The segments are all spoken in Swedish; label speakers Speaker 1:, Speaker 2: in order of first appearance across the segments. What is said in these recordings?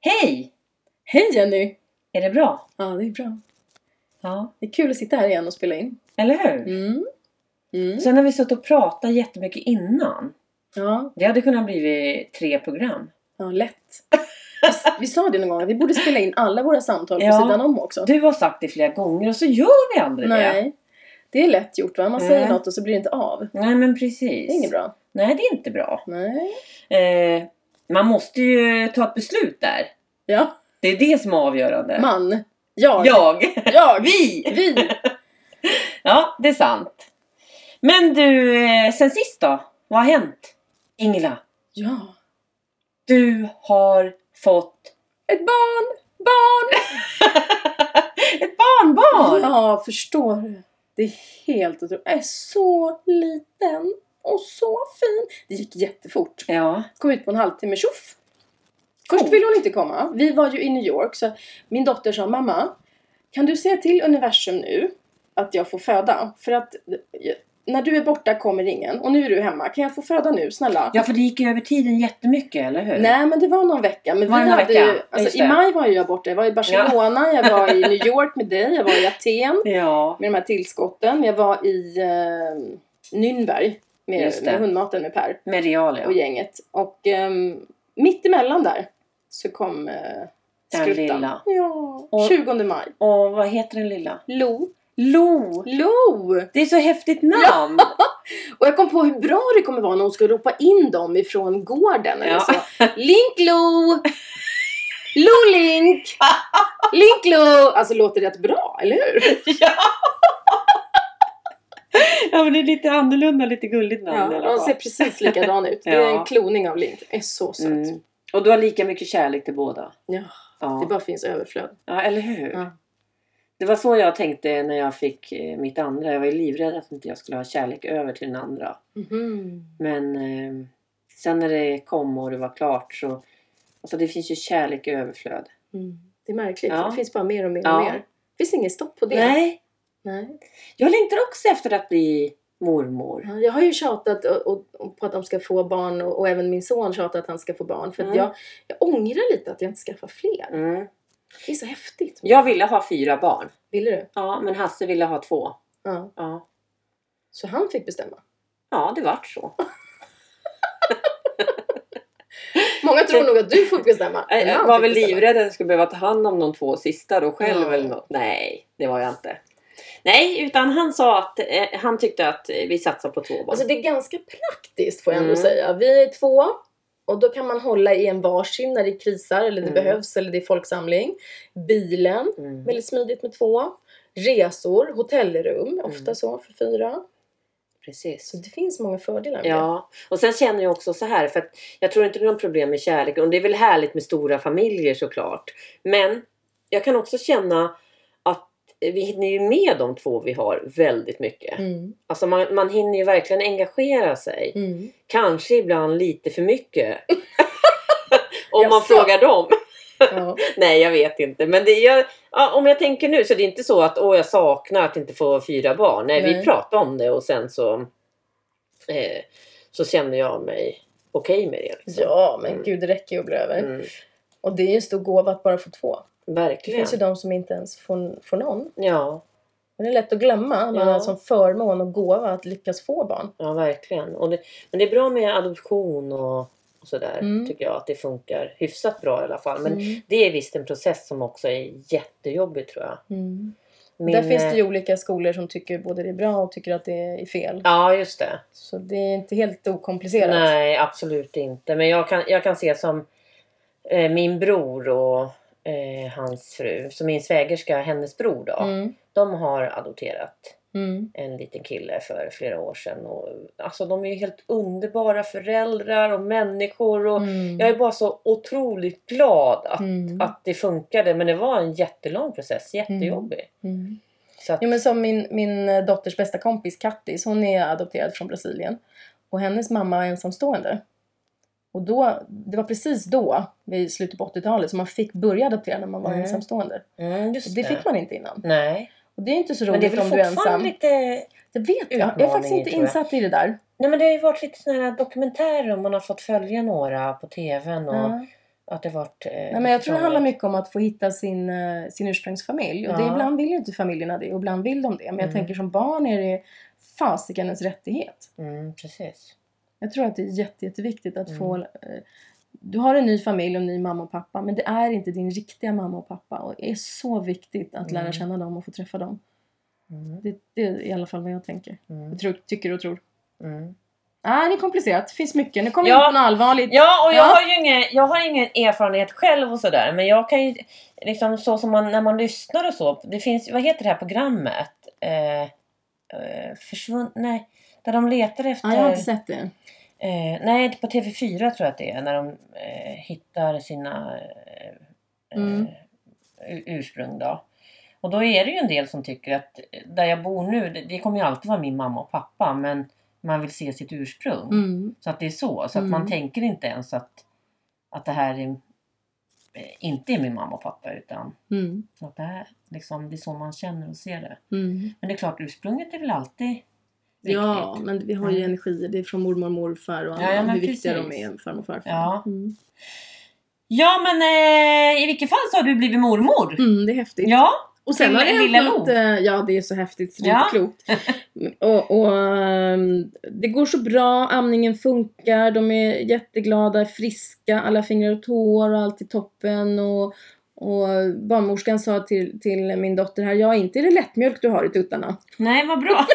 Speaker 1: Hej!
Speaker 2: Hej Jenny!
Speaker 1: Är det bra?
Speaker 2: Ja, det är bra.
Speaker 1: Ja.
Speaker 2: Det är kul att sitta här igen och spela in.
Speaker 1: Eller hur?
Speaker 2: Mm. Mm.
Speaker 1: Sen har vi suttit och pratat jättemycket innan.
Speaker 2: Ja,
Speaker 1: Det hade kunnat blivit tre program.
Speaker 2: ja, lätt. Vi- Vi sa det någon gång att vi borde spela in alla våra samtal på
Speaker 1: Ja.
Speaker 2: sidan om också.
Speaker 1: Du har sagt det flera gånger och så gör vi aldrig det.
Speaker 2: Nej. Det är lätt gjort va? Man säger
Speaker 1: Mm.
Speaker 2: något och så blir det inte av.
Speaker 1: Nej men precis.
Speaker 2: Det är inget bra.
Speaker 1: Nej det är inte bra.
Speaker 2: Nej.
Speaker 1: Eh, man måste ju ta ett beslut där.
Speaker 2: Ja.
Speaker 1: Det är det som är avgörande.
Speaker 2: Man. Jag.
Speaker 1: Jag.
Speaker 2: Jag.
Speaker 1: Vi.
Speaker 2: Vi.
Speaker 1: Ja det är sant. Men du, eh, sen sist då? Vad har hänt? Ingela,
Speaker 2: Ja.
Speaker 1: du har fått
Speaker 2: Ett barn. Barn.
Speaker 1: ett barnbarn!
Speaker 2: Ja, förstår du? Det är helt otroligt. Jag är så liten. Och så fin. Det gick jättefort.
Speaker 1: Ja.
Speaker 2: Kom ut på en halvtimme, tjoff! Först
Speaker 1: Coolt.
Speaker 2: ville hon inte komma. Vi var ju i New York så min dotter sa Mamma, kan du säga till universum nu att jag får föda? För att eh, när du är borta kommer ingen och nu är du hemma. Kan jag få föda nu, snälla?
Speaker 1: Ja, för det gick ju över tiden jättemycket, eller hur?
Speaker 2: Nej men det var någon vecka. Men
Speaker 1: Var det
Speaker 2: vi
Speaker 1: någon
Speaker 2: hade
Speaker 1: vecka?
Speaker 2: ju,
Speaker 1: Just
Speaker 2: alltså,
Speaker 1: det.
Speaker 2: I maj var ju jag borta. Jag var i Barcelona, jag var i New York med dig, jag var i Aten
Speaker 1: Ja.
Speaker 2: med de här tillskotten. Jag var i eh, Nürnberg med,
Speaker 1: Just det.
Speaker 2: med hundmaten med Per
Speaker 1: Med real, ja.
Speaker 2: och gänget. Och um, mitt emellan där så kom uh,
Speaker 1: Den
Speaker 2: skrutan.
Speaker 1: lilla.
Speaker 2: Ja,
Speaker 1: Och-
Speaker 2: 20 maj.
Speaker 1: Och vad heter den lilla?
Speaker 2: Lo.
Speaker 1: Lo!
Speaker 2: Lo!
Speaker 1: Det är så häftigt namn!
Speaker 2: Och jag kom på hur bra det kommer vara när hon ska ropa in dem ifrån gården. Eller
Speaker 1: Ja.
Speaker 2: så. Link Lo! Lo Link! Link Lo! Alltså låter rätt bra, eller hur?
Speaker 1: ja, men det är lite annorlunda, lite gulligt namn i alla
Speaker 2: de
Speaker 1: fall.
Speaker 2: ser precis likadan ut. Det är
Speaker 1: Ja.
Speaker 2: en kloning av Link. Det är så söt.
Speaker 1: Mm. Och du har lika mycket kärlek till båda.
Speaker 2: Ja, det
Speaker 1: Ja,
Speaker 2: bara finns överflöd.
Speaker 1: ja eller hur?
Speaker 2: Ja.
Speaker 1: Det var så jag tänkte när jag fick eh, mitt andra. Jag var ju livrädd att inte jag skulle ha kärlek över till den andra.
Speaker 2: Mhm.
Speaker 1: Men eh, sen när det kom och det var klart så... Alltså det finns ju kärlek i överflöd.
Speaker 2: Mm. Det är märkligt.
Speaker 1: Ja.
Speaker 2: Det finns bara mer och mer och
Speaker 1: Ja.
Speaker 2: mer. Det finns ingen stopp på det.
Speaker 1: Nej,
Speaker 2: Nej.
Speaker 1: Jag längtar också efter att bli mormor.
Speaker 2: Ja, Jag har ju tjatat och, och, och på att de ska få barn och, och även min son tjatar att han ska få barn. För att
Speaker 1: Mm.
Speaker 2: jag, jag ångrar lite att jag inte skaffar fler.
Speaker 1: Mm.
Speaker 2: Det är så häftigt.
Speaker 1: Jag ville ha fyra barn.
Speaker 2: Ville du?
Speaker 1: Ja, men Hasse ville ha två.
Speaker 2: Ja.
Speaker 1: Ja,
Speaker 2: Så han fick bestämma.
Speaker 1: ja det vart så.
Speaker 2: Många tror nog att du får bestämma. men
Speaker 1: Jag
Speaker 2: han
Speaker 1: var
Speaker 2: fick
Speaker 1: väl
Speaker 2: bestämma.
Speaker 1: livrädd att jag skulle behöva ta hand om de två sista då själv
Speaker 2: Ja.
Speaker 1: eller något. Nej, det var jag inte. Nej, utan han sa att eh, han tyckte att eh, vi satsar på två barn.
Speaker 2: Alltså det är ganska praktiskt får jag ändå
Speaker 1: Mm.
Speaker 2: säga. Vi är två och då kan man hålla i en varsin när det krisar eller det
Speaker 1: Mm.
Speaker 2: behövs eller det är folksamling. Bilen.
Speaker 1: mm.
Speaker 2: Väldigt smidigt med två. Resor, hotellrum,
Speaker 1: Mm.
Speaker 2: ofta så för fyra.
Speaker 1: Precis.
Speaker 2: Så det finns många fördelar med det.
Speaker 1: Ja, och sen känner jag också så här för att jag tror inte det är något problem med kärlek och det är väl härligt med stora familjer såklart. Men jag kan också känna att vi hinner ju med de två vi har väldigt mycket.
Speaker 2: Mm.
Speaker 1: Alltså man, man hinner ju verkligen engagera sig.
Speaker 2: Mm.
Speaker 1: Kanske ibland lite för mycket. om man
Speaker 2: Jaså?
Speaker 1: frågar dem.
Speaker 2: Ja.
Speaker 1: Nej, jag vet inte. Men det, jag, ja, om jag tänker nu så är det inte så att åh, jag saknar att inte få fyra barn. Nej, vi
Speaker 2: Nej.
Speaker 1: pratade om det och sen så, eh, så känner jag mig okej med det. Liksom.
Speaker 2: ja, men
Speaker 1: Mm.
Speaker 2: gud det räcker ju att bli över.
Speaker 1: Mm,
Speaker 2: Och det är ju en stor gåva att bara få två. Det
Speaker 1: verkligen.
Speaker 2: finns ju de som inte ens får, får någon.
Speaker 1: Ja,
Speaker 2: Men det är lätt att glömma. Man
Speaker 1: Ja.
Speaker 2: har en sån förmån och gåva att lyckas få barn.
Speaker 1: ja, verkligen. Och det, men det är bra med adoption och, och sådär.
Speaker 2: Mm.
Speaker 1: Tycker jag att det funkar hyfsat bra i alla fall. Men
Speaker 2: Mm.
Speaker 1: det är visst en process som också är jättejobbig tror jag.
Speaker 2: Mm.
Speaker 1: Min,
Speaker 2: Där finns det
Speaker 1: eh,
Speaker 2: ju olika skolor som tycker både det är bra och tycker att det är fel.
Speaker 1: Ja, just det.
Speaker 2: Så det är inte helt okomplicerat.
Speaker 1: Nej, absolut inte. Men jag kan, jag kan se som eh, min bror och eh, hans fru, så min svägerska, hennes bror då.
Speaker 2: Mm.
Speaker 1: De har adopterat
Speaker 2: Mm.
Speaker 1: en liten kille för flera år sedan. Och, alltså de är ju helt underbara föräldrar och människor. Och
Speaker 2: Mm.
Speaker 1: Jag är bara så otroligt glad att,
Speaker 2: Mm.
Speaker 1: att det funkade. Men det var en jättelång process, jättejobbig.
Speaker 2: Mm.
Speaker 1: Så att,
Speaker 2: Jo men som min, min eh, dotters bästa kompis Kattis, hon är adopterad från Brasilien. Och hennes mamma var ensamstående. Och då, det var precis då, i slutet på 80-talet, som man fick börja adoptera när man var
Speaker 1: Mm.
Speaker 2: ensamstående.
Speaker 1: mm,
Speaker 2: Och
Speaker 1: just
Speaker 2: det
Speaker 1: det.
Speaker 2: fick man inte innan.
Speaker 1: Nej.
Speaker 2: Och det är inte så
Speaker 1: Men det är
Speaker 2: roligt
Speaker 1: väl
Speaker 2: om du är
Speaker 1: fortfarande
Speaker 2: ensam.
Speaker 1: lite
Speaker 2: Jag vet, jag, jag är faktiskt
Speaker 1: Utmaningen,
Speaker 2: inte
Speaker 1: tror jag.
Speaker 2: insatt i det där.
Speaker 1: Nej men det har ju varit lite såna här dokumentärer och man har fått följa några på tvn och,
Speaker 2: Ja.
Speaker 1: Att det varit... Eh,
Speaker 2: Nej, men jag tror det handlar mycket om att få hitta sin, eh, sin ursprungsfamilj. Och det,
Speaker 1: Ja.
Speaker 2: ibland vill ju inte familjerna det och ibland vill de det. Men jag
Speaker 1: Mm.
Speaker 2: tänker som barn är det fasikanens rättighet.
Speaker 1: Mm, precis.
Speaker 2: Jag tror att det är jätte, jätteviktigt att
Speaker 1: Mm.
Speaker 2: få... eh, Du har en ny familj och en ny mamma och pappa men det är inte din riktiga mamma och pappa. Och det är så viktigt att lära
Speaker 1: Mm.
Speaker 2: känna dem och få träffa dem.
Speaker 1: Mm,
Speaker 2: Det, det är i alla fall vad jag tänker.
Speaker 1: mm,
Speaker 2: Jag tror, tycker och tror.
Speaker 1: mm.
Speaker 2: Nej, det är komplicerat. Det finns mycket. Nu kommer
Speaker 1: Ja.
Speaker 2: vi in på något allvarligt.
Speaker 1: Ja, och jag,
Speaker 2: Ja.
Speaker 1: Har ju ingen, jag har ingen erfarenhet själv och sådär. Men jag kan ju, liksom så som man, när man lyssnar och så. Det finns, vad heter det här programmet? Eh, eh, försvunn... Nej. Där de letar efter...
Speaker 2: Ja, Ah, jag har inte sett det.
Speaker 1: eh, nej, på TV4 tror jag att det är. När de eh, hittar sina eh,
Speaker 2: Mm.
Speaker 1: eh, u- ursprung då. Och då är det ju en del som tycker att eh, där jag bor nu, det, det kommer ju alltid vara min mamma och pappa. Men man vill se sitt ursprung.
Speaker 2: Mm.
Speaker 1: Så att det är så. Så att man
Speaker 2: Mm.
Speaker 1: tänker inte ens att, att det här är, eh, inte är min mamma och pappa. Utan
Speaker 2: Mm.
Speaker 1: att det, här, liksom, det är så man känner och ser det.
Speaker 2: Mm.
Speaker 1: Men det är klart, ursprunget är väl alltid viktigt.
Speaker 2: Ja, men vi har ju
Speaker 1: Mm.
Speaker 2: energier. Det är från mormor och morfar och
Speaker 1: Ja,
Speaker 2: alla.
Speaker 1: ja, men
Speaker 2: hur viktiga
Speaker 1: precis.
Speaker 2: de är, farmor och farfar.
Speaker 1: Ja.
Speaker 2: Mm.
Speaker 1: Ja, men eh, i vilket fall så har du blivit mormor.
Speaker 2: Mm, det är häftigt.
Speaker 1: Ja.
Speaker 2: Och sen
Speaker 1: Till
Speaker 2: har det
Speaker 1: lilla
Speaker 2: hänt något,
Speaker 1: Lo.
Speaker 2: eh, ja det är så häftigt så det är
Speaker 1: Ja.
Speaker 2: inte klokt. Och, och, ehm, det går så bra, amningen funkar, de är jätteglada, friska, alla fingrar och tår och allt är toppen. Och, och barnmorskan sa till, till min dotter här, ja inte är det lättmjölk du har i tuttarna.
Speaker 1: Nej, vad bra.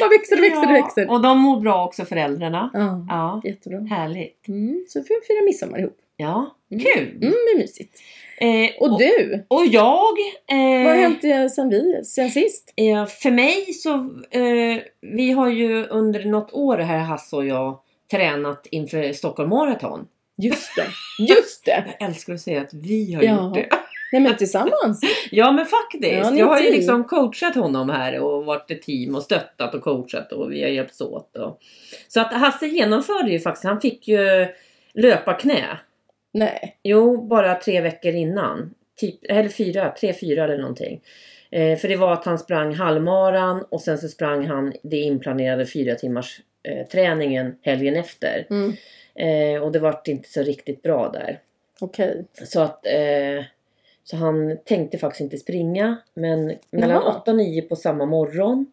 Speaker 2: Bara växer och växer och växer.
Speaker 1: Ja, Och de mår bra också, föräldrarna.
Speaker 2: Ja,
Speaker 1: Ja,
Speaker 2: jättebra.
Speaker 1: härligt.
Speaker 2: Mm, så får vi fira midsommar ihop.
Speaker 1: Ja,
Speaker 2: Mm.
Speaker 1: kul.
Speaker 2: Mm, det är mysigt.
Speaker 1: Eh,
Speaker 2: Och du,
Speaker 1: och jag... eh,
Speaker 2: vad har hänt eh, sen vi, sen sist?
Speaker 1: Eh, för mig så, eh, vi har ju under något år här Hasse och jag tränat inför Stockholm Marathon.
Speaker 2: Just det, just det!
Speaker 1: Jag älskar att säga att vi har
Speaker 2: Ja.
Speaker 1: gjort det.
Speaker 2: Nej men tillsammans.
Speaker 1: Ja men faktiskt.
Speaker 2: Ja, ni
Speaker 1: jag har ju
Speaker 2: är team.
Speaker 1: liksom coachat honom här och varit ett team och stöttat och coachat och vi har hjälpts åt. Och... Så att Hasse genomförde ju faktiskt, han fick ju löpa knä.
Speaker 2: Nej.
Speaker 1: Jo, bara tre veckor innan. Typ, eller fyra, tre, fyra eller någonting. Eh, för det var att han sprang halvmaran och sen så sprang han det inplanerade fyra timmars eh, träningen helgen efter.
Speaker 2: Mm.
Speaker 1: Eh, och det vart inte så riktigt bra där.
Speaker 2: Okej.
Speaker 1: Så att eh, så han tänkte faktiskt inte springa. Men mellan
Speaker 2: Jaha.
Speaker 1: 8 och 9 på samma morgon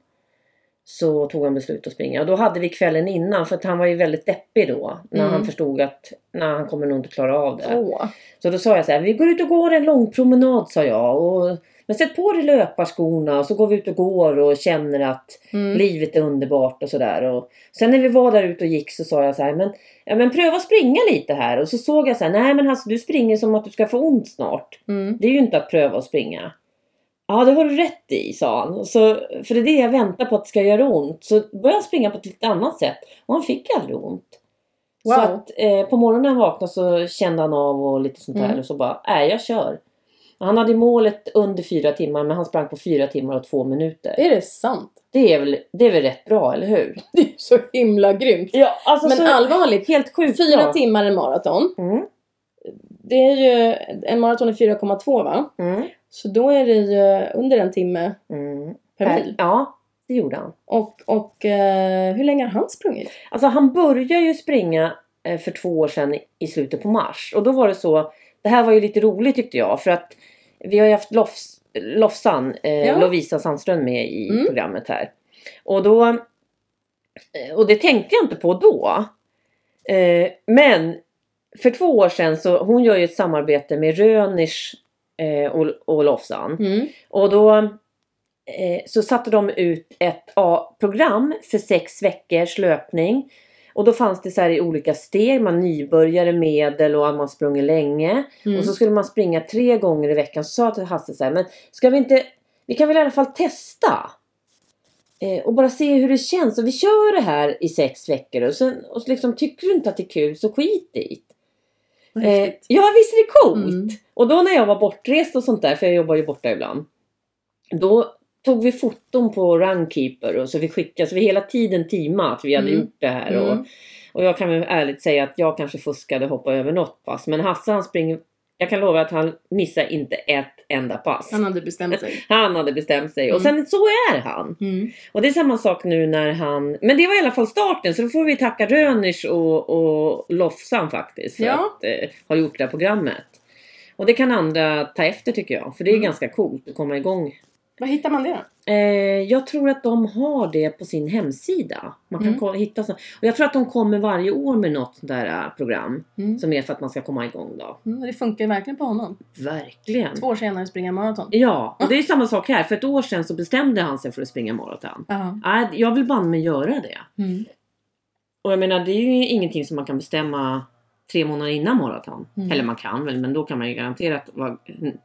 Speaker 1: så tog han beslut att springa. Och då hade vi kvällen innan för att han var ju väldigt deppig då. När
Speaker 2: Mm. Oh.
Speaker 1: han förstod att nej, han kommer nog inte klara av det.
Speaker 2: Åh.
Speaker 1: Så då sa jag så här, vi går ut och går en lång promenad sa jag. Och, men sätt på dig löparskorna och så går vi ut och går och känner att
Speaker 2: Mm.
Speaker 1: livet är underbart och sådär. Sen när vi var där ute och gick så sa jag så här, men, ja, men pröva springa lite här. Och så såg jag så här, nej men alltså du springer som att du ska få ont snart.
Speaker 2: Mm.
Speaker 1: Det är ju inte att pröva att springa. Ja det har du rätt i sa han. Och Så, för det är det jag väntar på att det ska göra ont. Så började han springa på ett lite annat sätt. Och han fick aldrig ont.
Speaker 2: Wow.
Speaker 1: Så att eh, på morgonen när han vaknade så kände han av och lite sånt där.
Speaker 2: Mm.
Speaker 1: Och så bara, nej jag kör. Han hade målet under fyra timmar men han sprang på fyra timmar och två minuter.
Speaker 2: Är det sant?
Speaker 1: Det är väl, det är väl rätt bra, eller hur?
Speaker 2: Det är så himla grymt.
Speaker 1: Ja, alltså
Speaker 2: Men
Speaker 1: så,
Speaker 2: allvarligt,
Speaker 1: helt sjukt
Speaker 2: fyra
Speaker 1: bra.
Speaker 2: timmar en maraton.
Speaker 1: Mm,
Speaker 2: Det är ju, en maraton är 4,2 va?
Speaker 1: mm,
Speaker 2: Så då är det ju under en timme
Speaker 1: mm.
Speaker 2: per mil.
Speaker 1: Ja, det gjorde han.
Speaker 2: Och, och eh, hur länge har han sprungit?
Speaker 1: Alltså han började ju springa eh, för två år sedan i- i slutet på mars. Och då var det så, det här var ju lite roligt tyckte jag. För att vi har ju haft Lofs, Lofsan, eh,
Speaker 2: Ja.
Speaker 1: Lovisa Sandström med i
Speaker 2: Mm.
Speaker 1: programmet här. Och då, eh, och det tänkte jag inte på då. Eh, men för två år sedan så, hon gör ju ett samarbete med Rönnisch eh, och, och Lofsan.
Speaker 2: Mm.
Speaker 1: Och då eh, så satte de ut ett A-program för sex veckors löpning. Och då fanns det så här i olika steg. Man nybörjade, medel och man sprungit länge.
Speaker 2: Mm.
Speaker 1: Och så skulle man springa tre gånger i veckan. Så sa jag till Hasse så här, men ska vi inte, vi kan väl i alla fall testa. Eh, och bara se hur det känns. Och vi kör det här i sex veckor. Och, sen, och så liksom, tycker du inte att det är kul så skit i
Speaker 2: Vad
Speaker 1: det. Eh,
Speaker 2: häftigt.
Speaker 1: ja visst är det coolt.
Speaker 2: Mm.
Speaker 1: Och då när jag var bortrest och sånt där, för jag jobbar ju borta ibland. Då tog vi foton på Runkeeper och så vi skickade, så vi hela tiden teamade att vi hade
Speaker 2: Mm.
Speaker 1: gjort det här. Och,
Speaker 2: Mm.
Speaker 1: och jag kan väl ärligt säga att jag kanske fuskade och hoppade över något pass. Men Hasse han springer Jag kan lova att han missar inte ett enda pass.
Speaker 2: Han hade bestämt sig.
Speaker 1: Han hade bestämt sig och
Speaker 2: Mm.
Speaker 1: sen så är han.
Speaker 2: Mm.
Speaker 1: Och det är samma sak nu när han... Men det var i alla fall starten så då får vi tacka Rönnisch och, och Lofsan faktiskt för
Speaker 2: Ja.
Speaker 1: att eh, ha gjort det här programmet. Och det kan andra ta efter tycker jag för det är
Speaker 2: Mm.
Speaker 1: ganska coolt att komma igång.
Speaker 2: Var hittar man det då?
Speaker 1: Eh, jag tror att de har det på sin hemsida. Man kan
Speaker 2: Mm.
Speaker 1: ko- hitta så. Och jag tror att de kommer varje år med något sånt där eh, program
Speaker 2: Mm.
Speaker 1: som är för att man ska komma igång då.
Speaker 2: Mm, och det funkar ju verkligen på honom.
Speaker 1: Verkligen.
Speaker 2: Två år senare springer han maraton.
Speaker 1: Ja, och det är samma sak här. För ett år sedan så bestämde han sig för att springa maraton.
Speaker 2: Ja.
Speaker 1: Nej, jag vill banne mig göra det.
Speaker 2: Mm.
Speaker 1: Och jag menar det är ju ingenting som man kan bestämma tre månader innan maraton.
Speaker 2: Mm.
Speaker 1: Eller man kan väl, men då kan man ju garanterat vara,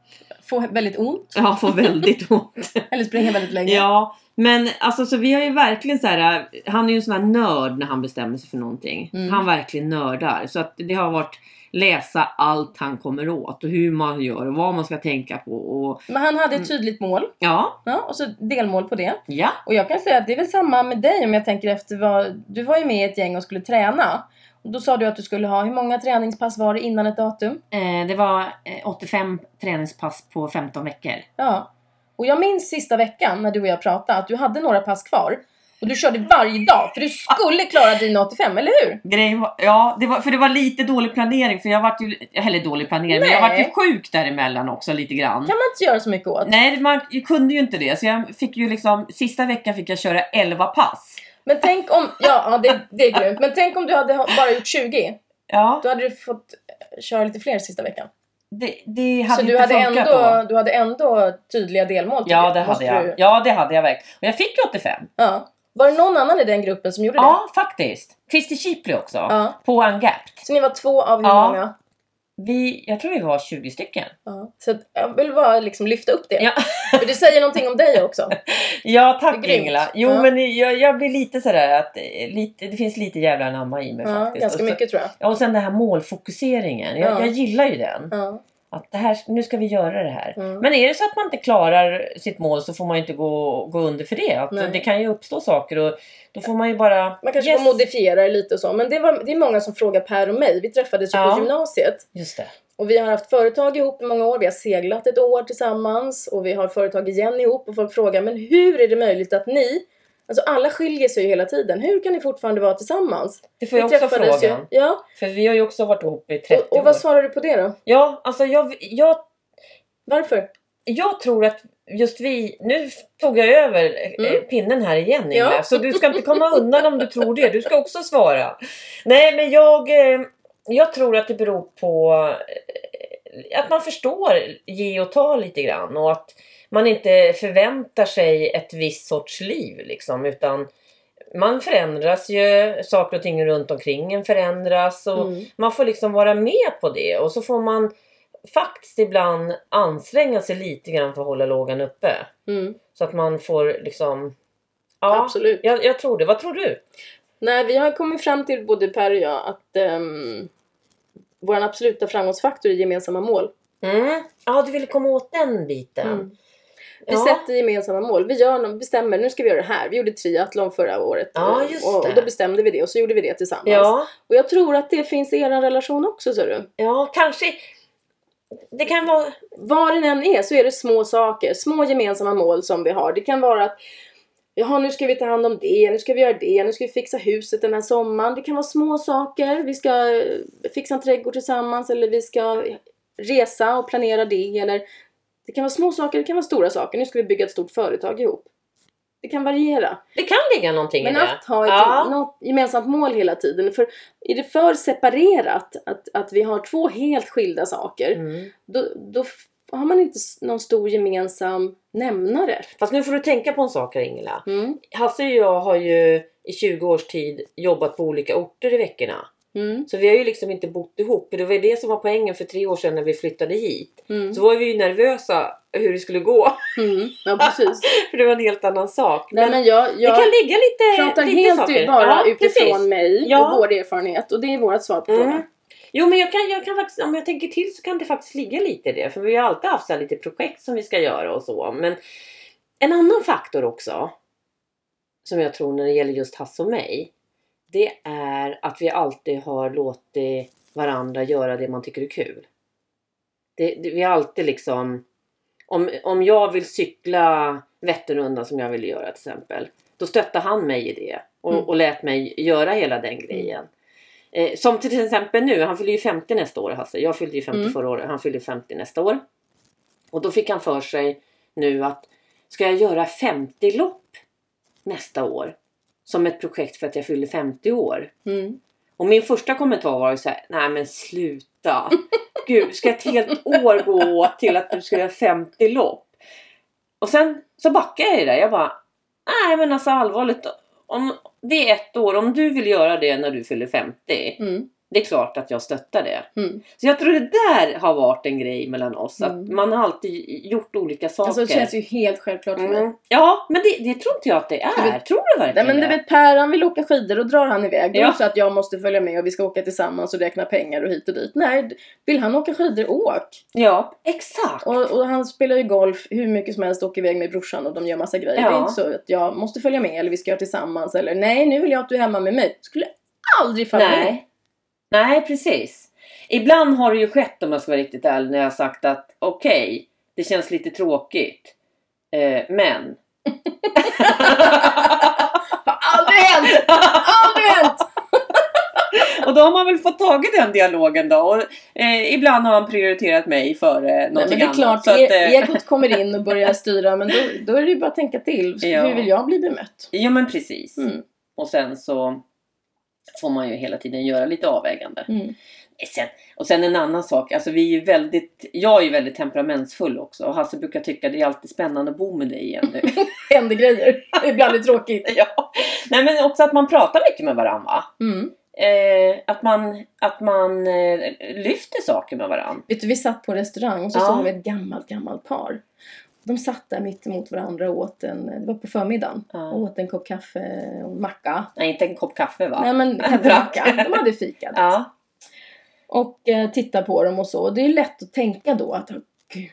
Speaker 2: Får väldigt ont.
Speaker 1: ja, få väldigt ont.
Speaker 2: Eller springer väldigt länge.
Speaker 1: ja, men alltså så vi har ju verkligen så här. Han är ju en sån här nörd när han bestämmer sig för någonting.
Speaker 2: Mm.
Speaker 1: Han verkligen nördar. Så att det har varit läsa allt han kommer åt och hur man gör och vad man ska tänka på. Och,
Speaker 2: Men han hade ett tydligt mål.
Speaker 1: ja,
Speaker 2: Ja, och så delmål på det.
Speaker 1: ja.
Speaker 2: Och jag kan säga att det är väl samma med dig om jag tänker efter vad... Du var ju med i ett gäng och skulle träna. Och då sa du att du skulle ha... Hur många träningspass var det innan ett datum?
Speaker 1: Eh, det var eh, 85 träningspass på 15 veckor.
Speaker 2: Ja. Och jag minns sista veckan när du och jag pratade att du hade några pass kvar. Och du körde varje dag för du skulle klara dina 85, eller hur?
Speaker 1: Grejen var, ja, det var, för det var lite dålig planering för jag vart ju, eller dålig planering, men jag
Speaker 2: Nej.
Speaker 1: vart ju sjuk däremellan också lite grann.
Speaker 2: kan man inte göra så mycket åt.
Speaker 1: Nej, man kunde ju inte det så jag fick ju liksom, sista veckan fick jag köra 11 pass.
Speaker 2: Men tänk om... Ja, ja det, det är grymt. Men tänk om du hade ha- bara gjort 20.
Speaker 1: Ja,
Speaker 2: Då hade du fått köra lite fler sista veckan.
Speaker 1: det, det hade
Speaker 2: så
Speaker 1: inte
Speaker 2: du hade,
Speaker 1: funkat
Speaker 2: ändå,
Speaker 1: då.
Speaker 2: du hade ändå tydliga delmål? tycker
Speaker 1: Ja
Speaker 2: jag.
Speaker 1: det hade
Speaker 2: Måste
Speaker 1: jag.
Speaker 2: du-
Speaker 1: Ja det hade jag verkligen. Och jag fick ju 85.
Speaker 2: ja. Var det någon annan i den gruppen som gjorde det?
Speaker 1: Ja faktiskt. Christer Chipley också.
Speaker 2: Ja.
Speaker 1: På Ungapped.
Speaker 2: Så ni var två av hur
Speaker 1: Ja.
Speaker 2: många?
Speaker 1: Vi, jag tror vi var 20 stycken.
Speaker 2: Ja. Så att jag vill bara liksom lyfta upp det.
Speaker 1: Ja.
Speaker 2: För det säger någonting om dig också.
Speaker 1: Ja
Speaker 2: Det är
Speaker 1: tack
Speaker 2: grymt.
Speaker 1: Ingela. Jo
Speaker 2: Ja.
Speaker 1: men jag, jag blir lite sådär att eh, lite, det finns lite jävla anamma i mig
Speaker 2: Ja,
Speaker 1: faktiskt.
Speaker 2: ganska
Speaker 1: Och så-
Speaker 2: mycket tror jag.
Speaker 1: Ja, och sen den här målfokuseringen. Jag,
Speaker 2: Ja.
Speaker 1: jag gillar ju den.
Speaker 2: Ja.
Speaker 1: Att det här, nu ska vi göra det här.
Speaker 2: Mm.
Speaker 1: Men är det så att man inte klarar sitt mål så får man ju inte gå, gå under för det.
Speaker 2: Nej.
Speaker 1: Att det kan ju uppstå saker och då får man ju bara...
Speaker 2: Man kanske får modifiera det lite och så. Men det, var, det är många som frågar Per och mig. Vi träffades ju
Speaker 1: Ja.
Speaker 2: på gymnasiet.
Speaker 1: Just det.
Speaker 2: Och vi har haft företag ihop i många år. Vi har seglat ett år tillsammans. Och vi har företag igen ihop. Och folk frågar, men hur är det möjligt att ni... Alltså alla skiljer sig ju hela tiden. Hur kan ni fortfarande vara tillsammans?
Speaker 1: Det får jag
Speaker 2: Vi
Speaker 1: också
Speaker 2: träffades
Speaker 1: frågan.
Speaker 2: Ju, ja.
Speaker 1: För vi har ju också varit ihop i 30
Speaker 2: Och, och
Speaker 1: år.
Speaker 2: vad svarar du på det då?
Speaker 1: Ja, alltså jag, jag,
Speaker 2: Varför?
Speaker 1: jag tror att just vi... Nu tog jag över eh,
Speaker 2: Mm.
Speaker 1: pinnen här igen Ingela.
Speaker 2: Ja.
Speaker 1: Så du ska inte komma undan om du tror det. Du ska också svara. Nej men jag, eh, jag tror att det beror på eh, att man förstår ge och ta lite grann och att man inte förväntar sig ett visst sorts liv liksom utan man förändras ju, saker och ting runt omkring en förändras och
Speaker 2: Mm.
Speaker 1: man får liksom vara med på det och så får man faktiskt ibland anstränga sig lite grann för att hålla lågan uppe.
Speaker 2: Mm.
Speaker 1: Så att man får liksom... Ja,
Speaker 2: Absolut.
Speaker 1: jag, jag tror det. Vad tror du?
Speaker 2: Nej, vi har kommit fram till, både Per och jag, att um, vår absoluta framgångsfaktor är gemensamma mål.
Speaker 1: Mm. Ja, du ville komma åt den biten.
Speaker 2: Mm. Vi
Speaker 1: Ja.
Speaker 2: sätter gemensamma mål. Vi gör, någon- bestämmer, nu ska vi göra det här. Vi gjorde triathlon förra året.
Speaker 1: Ja,
Speaker 2: eh,
Speaker 1: just
Speaker 2: och, och
Speaker 1: det.
Speaker 2: då bestämde vi det och så gjorde vi det tillsammans.
Speaker 1: Ja,
Speaker 2: Och jag tror att det finns i er relation också, ser du.
Speaker 1: ja, kanske. Det kan vara...
Speaker 2: Var den än är så är det små saker, små gemensamma mål som vi har. Det kan vara att Jaha, nu ska vi ta hand om det, nu ska vi göra det, nu ska vi fixa huset den här sommaren. Det kan vara små saker. Vi ska eh, fixa en trädgård tillsammans eller vi ska resa och planera det. Eller det kan vara små saker, det kan vara stora saker. Nu ska vi bygga ett stort företag ihop. Det kan variera.
Speaker 1: Det kan ligga någonting
Speaker 2: Men
Speaker 1: i det.
Speaker 2: att ha ett
Speaker 1: Ja.
Speaker 2: något gemensamt mål hela tiden. För är det för separerat, att, att vi har två helt skilda saker,
Speaker 1: Mm.
Speaker 2: då, då f- har man inte s- någon stor gemensam nämnare.
Speaker 1: Fast nu får du tänka på en sak här Ingela. Hasse och jag har ju i 20 års tid jobbat på olika orter i veckorna.
Speaker 2: Mm.
Speaker 1: Så vi har ju liksom inte bott ihop. Det var ju det som var poängen för tre år sedan när vi flyttade hit.
Speaker 2: Mm.
Speaker 1: Så var vi ju nervösa hur det skulle gå.
Speaker 2: Mm. Ja, precis.
Speaker 1: För det var en helt annan sak.
Speaker 2: Nej, men jag, jag
Speaker 1: det kan ligga lite,
Speaker 2: pratar
Speaker 1: lite
Speaker 2: helt
Speaker 1: saker.
Speaker 2: ut bara
Speaker 1: Ja,
Speaker 2: utifrån
Speaker 1: precis.
Speaker 2: mig
Speaker 1: Ja.
Speaker 2: och vår erfarenhet. Och det är vårt svar på
Speaker 1: Mm.
Speaker 2: frågan.
Speaker 1: Jo men jag kan, jag kan faktiskt, om jag tänker till så kan det faktiskt ligga lite i det. För vi har alltid haft så här lite projekt som vi ska göra och så. Men en annan faktor också. Som jag tror när det gäller just Hasse och mig. Det är att vi alltid har låtit varandra göra det man tycker är kul. Det, det, vi har alltid liksom... Om, om jag vill cykla Vätternrundan som jag ville göra till exempel. Då stötte han mig i det. Och,
Speaker 2: Mm.
Speaker 1: och lät mig göra hela den grejen. Eh, som till exempel nu, han fyller ju 50 nästa år Hasse. Jag fyllde ju 50
Speaker 2: Mm.
Speaker 1: förra året, han fyller 50 nästa år. Och då fick han för sig nu att ska jag göra 50 lopp nästa år? Som ett projekt för att jag fyller 50 år.
Speaker 2: Mm.
Speaker 1: Och min första kommentar var ju så här, nej men sluta. Gud, ska ett helt år gå åt till att du ska göra 50 lopp? Och sen så backade jag i det. Jag bara, nej men alltså allvarligt. Om det är ett år, om du vill göra det när du fyller 50,
Speaker 2: Mm.
Speaker 1: det är klart att jag stöttar det.
Speaker 2: Mm.
Speaker 1: Så jag tror det där har varit en grej mellan oss. Att
Speaker 2: Mm.
Speaker 1: man har alltid gjort olika saker.
Speaker 2: Alltså det känns ju helt självklart för mig.
Speaker 1: Mm. Ja, men det, det tror inte jag att det är.
Speaker 2: Du vet-
Speaker 1: tror du
Speaker 2: Nej
Speaker 1: verkligen
Speaker 2: men du vet Per han vill åka skidor och drar han iväg. Då är
Speaker 1: Ja.
Speaker 2: det så att jag måste följa med och vi ska åka tillsammans och räkna pengar och hit och dit. Nej, d- vill han åka skidor, åk!
Speaker 1: Ja, exakt.
Speaker 2: Och, och han spelar ju golf hur mycket som helst, åker iväg med brorsan och de gör massa grejer. Det
Speaker 1: Ja.
Speaker 2: är inte så att jag måste följa med eller vi ska göra tillsammans eller nej nu vill jag att du är hemma med mig. Skulle aldrig falla in.
Speaker 1: Nej. Nej, precis. Ibland har det ju skett, om jag ska vara riktigt ärlig, när jag har sagt att okej, det känns lite tråkigt. Eh, men.
Speaker 2: Har aldrig hänt! Aldrig hänt!
Speaker 1: och då har man väl fått tag i den dialogen då. Och, eh, ibland har han prioriterat mig före
Speaker 2: Nej, men
Speaker 1: någonting
Speaker 2: det är
Speaker 1: annat.
Speaker 2: klart,
Speaker 1: Så att,
Speaker 2: e-
Speaker 1: eh,
Speaker 2: egot kommer in och börjar styra men då, då är det ju bara att tänka till. Så
Speaker 1: Ja.
Speaker 2: Hur vill jag bli bemött?
Speaker 1: ja, men precis.
Speaker 2: Mm.
Speaker 1: Och sen så får man ju hela tiden göra lite avvägande. Eh,
Speaker 2: Mm.
Speaker 1: Sen, och sen en annan sak. Alltså vi är ju väldigt, jag är ju väldigt temperamentsfull också. Och Hasse brukar tycka det är alltid spännande att bo med dig igen nu.
Speaker 2: Händer grejer. Ibland är det tråkigt.
Speaker 1: Ja. Nej men också att man pratar mycket med varandra.
Speaker 2: Mm.
Speaker 1: Eh, att man, att man eh, lyfter saker med varandra.
Speaker 2: Vet du, vi satt på en restaurang och så
Speaker 1: Ja.
Speaker 2: såg vi ett gammalt, gammalt par. De satt där mitt emot varandra och åt en, det var på förmiddagen,
Speaker 1: Ja.
Speaker 2: och åt en kopp kaffe och macka.
Speaker 1: Nej, inte en kopp kaffe va?
Speaker 2: Nej men kaffe och
Speaker 1: Drack.
Speaker 2: macka, de hade fika.
Speaker 1: Ja.
Speaker 2: Och eh, titta på dem och så. Och det är lätt att tänka då att, "Åh, gud,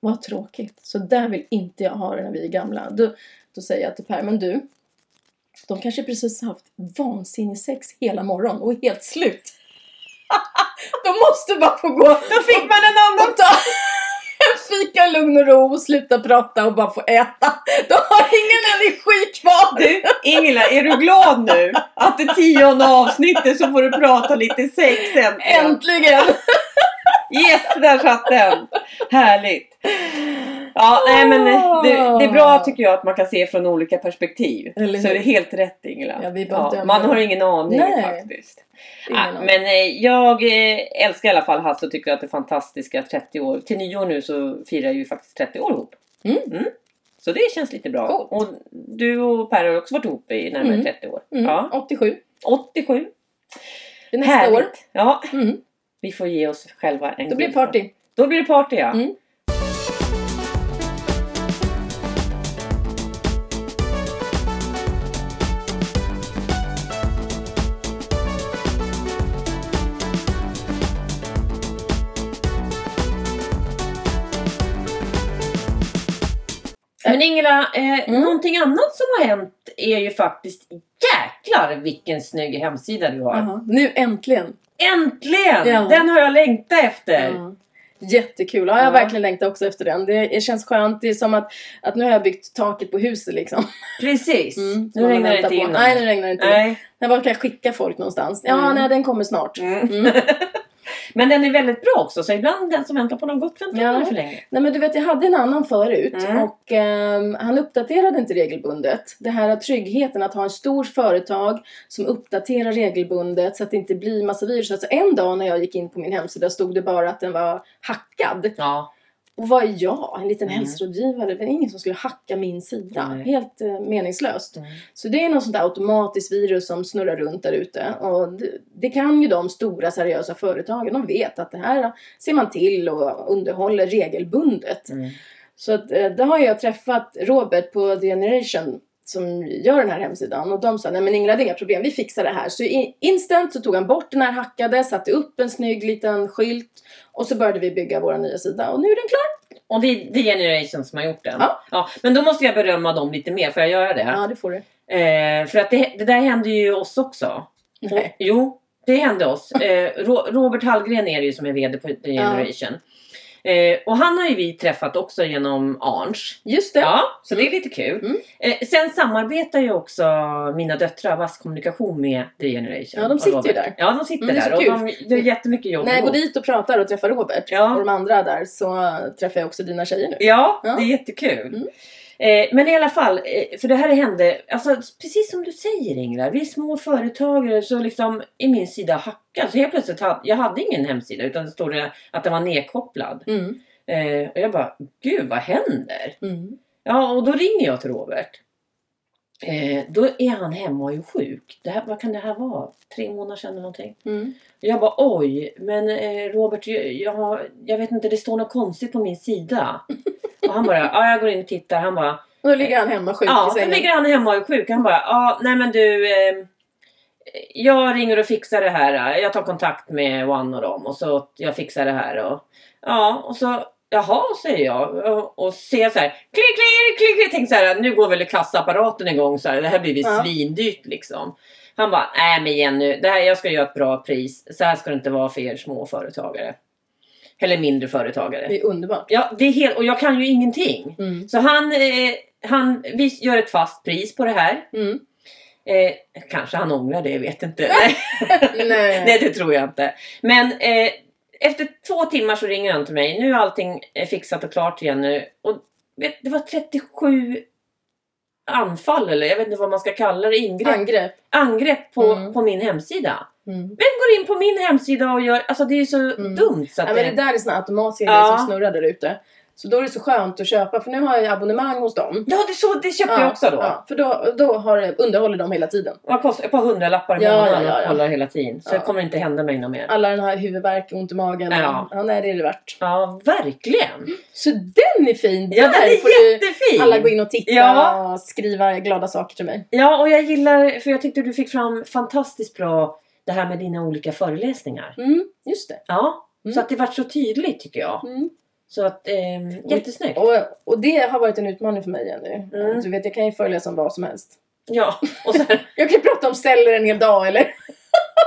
Speaker 2: vad tråkigt. Så där vill inte jag ha det när vi är gamla. Då, då säger jag till Per, men du, de kanske precis har haft vansinnig sex hela morgon och är helt slut. de måste bara få gå
Speaker 1: Då fick man en annan!
Speaker 2: Och ta en fika i lugn och ro och sluta prata och bara få äta. De har ingen energi kvar!
Speaker 1: Du, Ingela, är du glad nu? Att det tionde avsnittet så får du prata lite sex äntligen.
Speaker 2: Äntligen!
Speaker 1: Yes, där satt den! Härligt! Ja, nej men eh, det, det är bra tycker jag att man kan se från olika perspektiv.
Speaker 2: Eller
Speaker 1: så
Speaker 2: hur?
Speaker 1: det är helt rätt Ingela.
Speaker 2: Ja, vi bara dömer.
Speaker 1: man har ingen aning
Speaker 2: Nej.
Speaker 1: faktiskt.
Speaker 2: Ingen
Speaker 1: Ja,
Speaker 2: aning.
Speaker 1: men eh, jag eh, älskar i alla fall Hasse och tycker att det är fantastiska 30 år. Till nyår nu så firar ju faktiskt 30 år ihop.
Speaker 2: Mm.
Speaker 1: Så det känns lite bra.
Speaker 2: Coolt.
Speaker 1: Och du och Per har också varit ihop i närmare
Speaker 2: Mm.
Speaker 1: 30 år.
Speaker 2: Mm,
Speaker 1: Ja.
Speaker 2: 87.
Speaker 1: 87.
Speaker 2: Det är nästa
Speaker 1: Härligt.
Speaker 2: år.
Speaker 1: Ja,
Speaker 2: Mm.
Speaker 1: vi får ge oss själva en
Speaker 2: Då blir det
Speaker 1: god-
Speaker 2: party.
Speaker 1: Då blir det party ja.
Speaker 2: Mm.
Speaker 1: Men Ingela, eh,
Speaker 2: Mm.
Speaker 1: någonting annat som har hänt är ju faktiskt jäklar vilken snygg hemsida du har.
Speaker 2: Aha, Nu äntligen!
Speaker 1: Äntligen!
Speaker 2: Ja.
Speaker 1: Den har jag längtat efter.
Speaker 2: Ja. Jättekul! Ja, jag
Speaker 1: Ja.
Speaker 2: har verkligen längtat också efter den. Det det känns skönt. Det är som att, att nu har jag byggt taket på huset liksom.
Speaker 1: Precis.
Speaker 2: Mm, som
Speaker 1: Nu
Speaker 2: man
Speaker 1: regnar det
Speaker 2: väntar
Speaker 1: inte
Speaker 2: på.
Speaker 1: in.
Speaker 2: Nej, nu regnar det inte in.
Speaker 1: Nej.
Speaker 2: Men Var kan jag skicka folk någonstans? Ja,
Speaker 1: Mm.
Speaker 2: nej, den kommer snart.
Speaker 1: Mm.
Speaker 2: Mm.
Speaker 1: Men den är väldigt bra också, så ibland den som väntar på något gott väntar
Speaker 2: Ja.
Speaker 1: aldrig för länge.
Speaker 2: Nej men du vet jag hade en annan förut
Speaker 1: Mm.
Speaker 2: och ehm, han uppdaterade inte regelbundet. Det här att tryggheten att ha en stor företag som uppdaterar regelbundet så att det inte blir massa virus. Alltså en dag när jag gick in på min hemsida stod det bara att den var hackad.
Speaker 1: Ja.
Speaker 2: Och vad är jag? En liten
Speaker 1: Mm.
Speaker 2: hälsorådgivare? Det är ingen som skulle hacka min sida.
Speaker 1: Nej.
Speaker 2: Helt eh, meningslöst.
Speaker 1: Mm.
Speaker 2: Så det är något sånt där automatiskt virus som snurrar runt där ute. Och det, det kan ju de stora seriösa företagen. De vet att det här ser man till och underhåller regelbundet.
Speaker 1: Mm.
Speaker 2: Så att, eh, där har jag träffat Robert på The Generation som gör den här hemsidan och de sa nej men Ingela det är inga problem, vi fixar det här. Så i- instant så tog han bort den här hackade, satte upp en snygg liten skylt och så började vi bygga vår nya sida och nu är den klar.
Speaker 1: Och det är The Generation som har gjort den.
Speaker 2: Ja.
Speaker 1: Men då måste jag berömma dem lite mer, får jag göra det?
Speaker 2: Ja det får du.
Speaker 1: Eh, för att det, det där hände ju oss också.
Speaker 2: Nej.
Speaker 1: Jo, det hände oss. Eh, Ro- Robert Hallgren är det ju som är VD på The
Speaker 2: Ja.
Speaker 1: Generation. Eh, och han har ju vi träffat också genom Arns.
Speaker 2: Just det.
Speaker 1: Ja, så
Speaker 2: Mm.
Speaker 1: det är lite kul.
Speaker 2: Mm.
Speaker 1: Eh, sen samarbetar ju också mina döttrar Vass kommunikation med The Generation.
Speaker 2: Ja, de
Speaker 1: och
Speaker 2: sitter ju
Speaker 1: Robert.
Speaker 2: där.
Speaker 1: Ja, de sitter
Speaker 2: Mm, det är
Speaker 1: där
Speaker 2: så
Speaker 1: och
Speaker 2: kul.
Speaker 1: de gör jättemycket jobb
Speaker 2: När jag går
Speaker 1: ihop.
Speaker 2: dit och pratar och träffar Robert
Speaker 1: Ja.
Speaker 2: och de andra där så eh, träffar jag också dina tjejer nu.
Speaker 1: Ja,
Speaker 2: Ja.
Speaker 1: det är jättekul.
Speaker 2: Mm.
Speaker 1: Eh, men i alla fall, eh, för det här hände, alltså, precis som du säger Ingela, vi är små företagare så liksom är min sida hackad. Så helt plötsligt, hade, jag hade ingen hemsida utan det stod det att den var nedkopplad.
Speaker 2: Mm.
Speaker 1: Eh, och jag bara, gud vad händer?
Speaker 2: Mm.
Speaker 1: Ja, och då ringer jag till Robert. Eh, då är han hemma och är sjuk. Det här, vad kan det här vara? Tre månader sedan eller någonting?
Speaker 2: Mm.
Speaker 1: Jag bara oj, men eh, Robert, jag, jag, har- jag vet inte, det står något konstigt på min sida. Och han bara, ja jag går in och tittar. Han bara,
Speaker 2: Och då ligger han hemma sjuk
Speaker 1: ja,
Speaker 2: i
Speaker 1: då
Speaker 2: sängen.
Speaker 1: ligger han hemma och är sjuk. Han bara, ja nej men du, eh, jag ringer och fixar det här. Jag tar kontakt med One och dem och så jag fixar det här. Och, ja, och så, jaha säger jag. Och, och ser så här, klick, klick, klick. Jag tänker så här, nu går väl kassaapparaten igång. Så här, det här blir väl
Speaker 2: Ja.
Speaker 1: svindyrt liksom. Han bara, nej men Jenny, det här, jag ska göra ett bra pris. Så här ska det inte vara för er små företagare. Eller mindre företagare.
Speaker 2: Det är underbart.
Speaker 1: Ja, det är helt, och jag kan ju ingenting.
Speaker 2: Mm.
Speaker 1: Så han, eh, han, vi gör ett fast pris på det här.
Speaker 2: Mm.
Speaker 1: Eh, kanske han ångrar det, jag vet inte.
Speaker 2: Nej.
Speaker 1: Nej, det tror jag inte. Men eh, efter två timmar så ringer han till mig. Nu är allting eh, fixat och klart igen nu. Och vet, det var 37 anfall, eller jag vet inte vad man ska kalla det, ingrepp,
Speaker 2: Angrepp.
Speaker 1: angrepp på,
Speaker 2: Mm.
Speaker 1: på min hemsida.
Speaker 2: Mm.
Speaker 1: Vem går in på min hemsida och gör... Alltså det är ju så
Speaker 2: Mm.
Speaker 1: dumt. Så att
Speaker 2: Ja, men det där är såna automatiska
Speaker 1: Ja.
Speaker 2: grejer som snurrar där ute. Så då är det så skönt att köpa för nu har jag ju abonnemang hos dem.
Speaker 1: ja, det, så, det köpte jag också då.
Speaker 2: Ja, för då, då har, underhåller de hela tiden.
Speaker 1: Vad kostar ett par hundralappar i
Speaker 2: Ja,
Speaker 1: månaden
Speaker 2: ja, ja,
Speaker 1: och
Speaker 2: ja.
Speaker 1: kollar hela tiden. Så
Speaker 2: Ja.
Speaker 1: det kommer inte hända mig något mer.
Speaker 2: Alla den här huvudvärk, ont i magen.
Speaker 1: Ja.
Speaker 2: nej, det är det värt.
Speaker 1: Ja, verkligen.
Speaker 2: Så den är fin!
Speaker 1: Ja, den
Speaker 2: Mm. Där
Speaker 1: är
Speaker 2: får du
Speaker 1: jättefin!
Speaker 2: alla gå in och titta
Speaker 1: Ja.
Speaker 2: och skriva glada saker till mig.
Speaker 1: Ja, och jag gillar, för jag tyckte du fick fram fantastiskt bra det här med dina olika föreläsningar.
Speaker 2: Mm, just det.
Speaker 1: Ja,
Speaker 2: Mm.
Speaker 1: så att det vart så tydligt tycker jag.
Speaker 2: Mm.
Speaker 1: Så att, ehm, jättesnyggt.
Speaker 2: Och, och det har varit en utmaning för mig Jenny.
Speaker 1: Mm.
Speaker 2: Du vet, jag kan ju föreläsa om vad som helst.
Speaker 1: Ja, och så här,
Speaker 2: Jag kan prata om celler en hel dag eller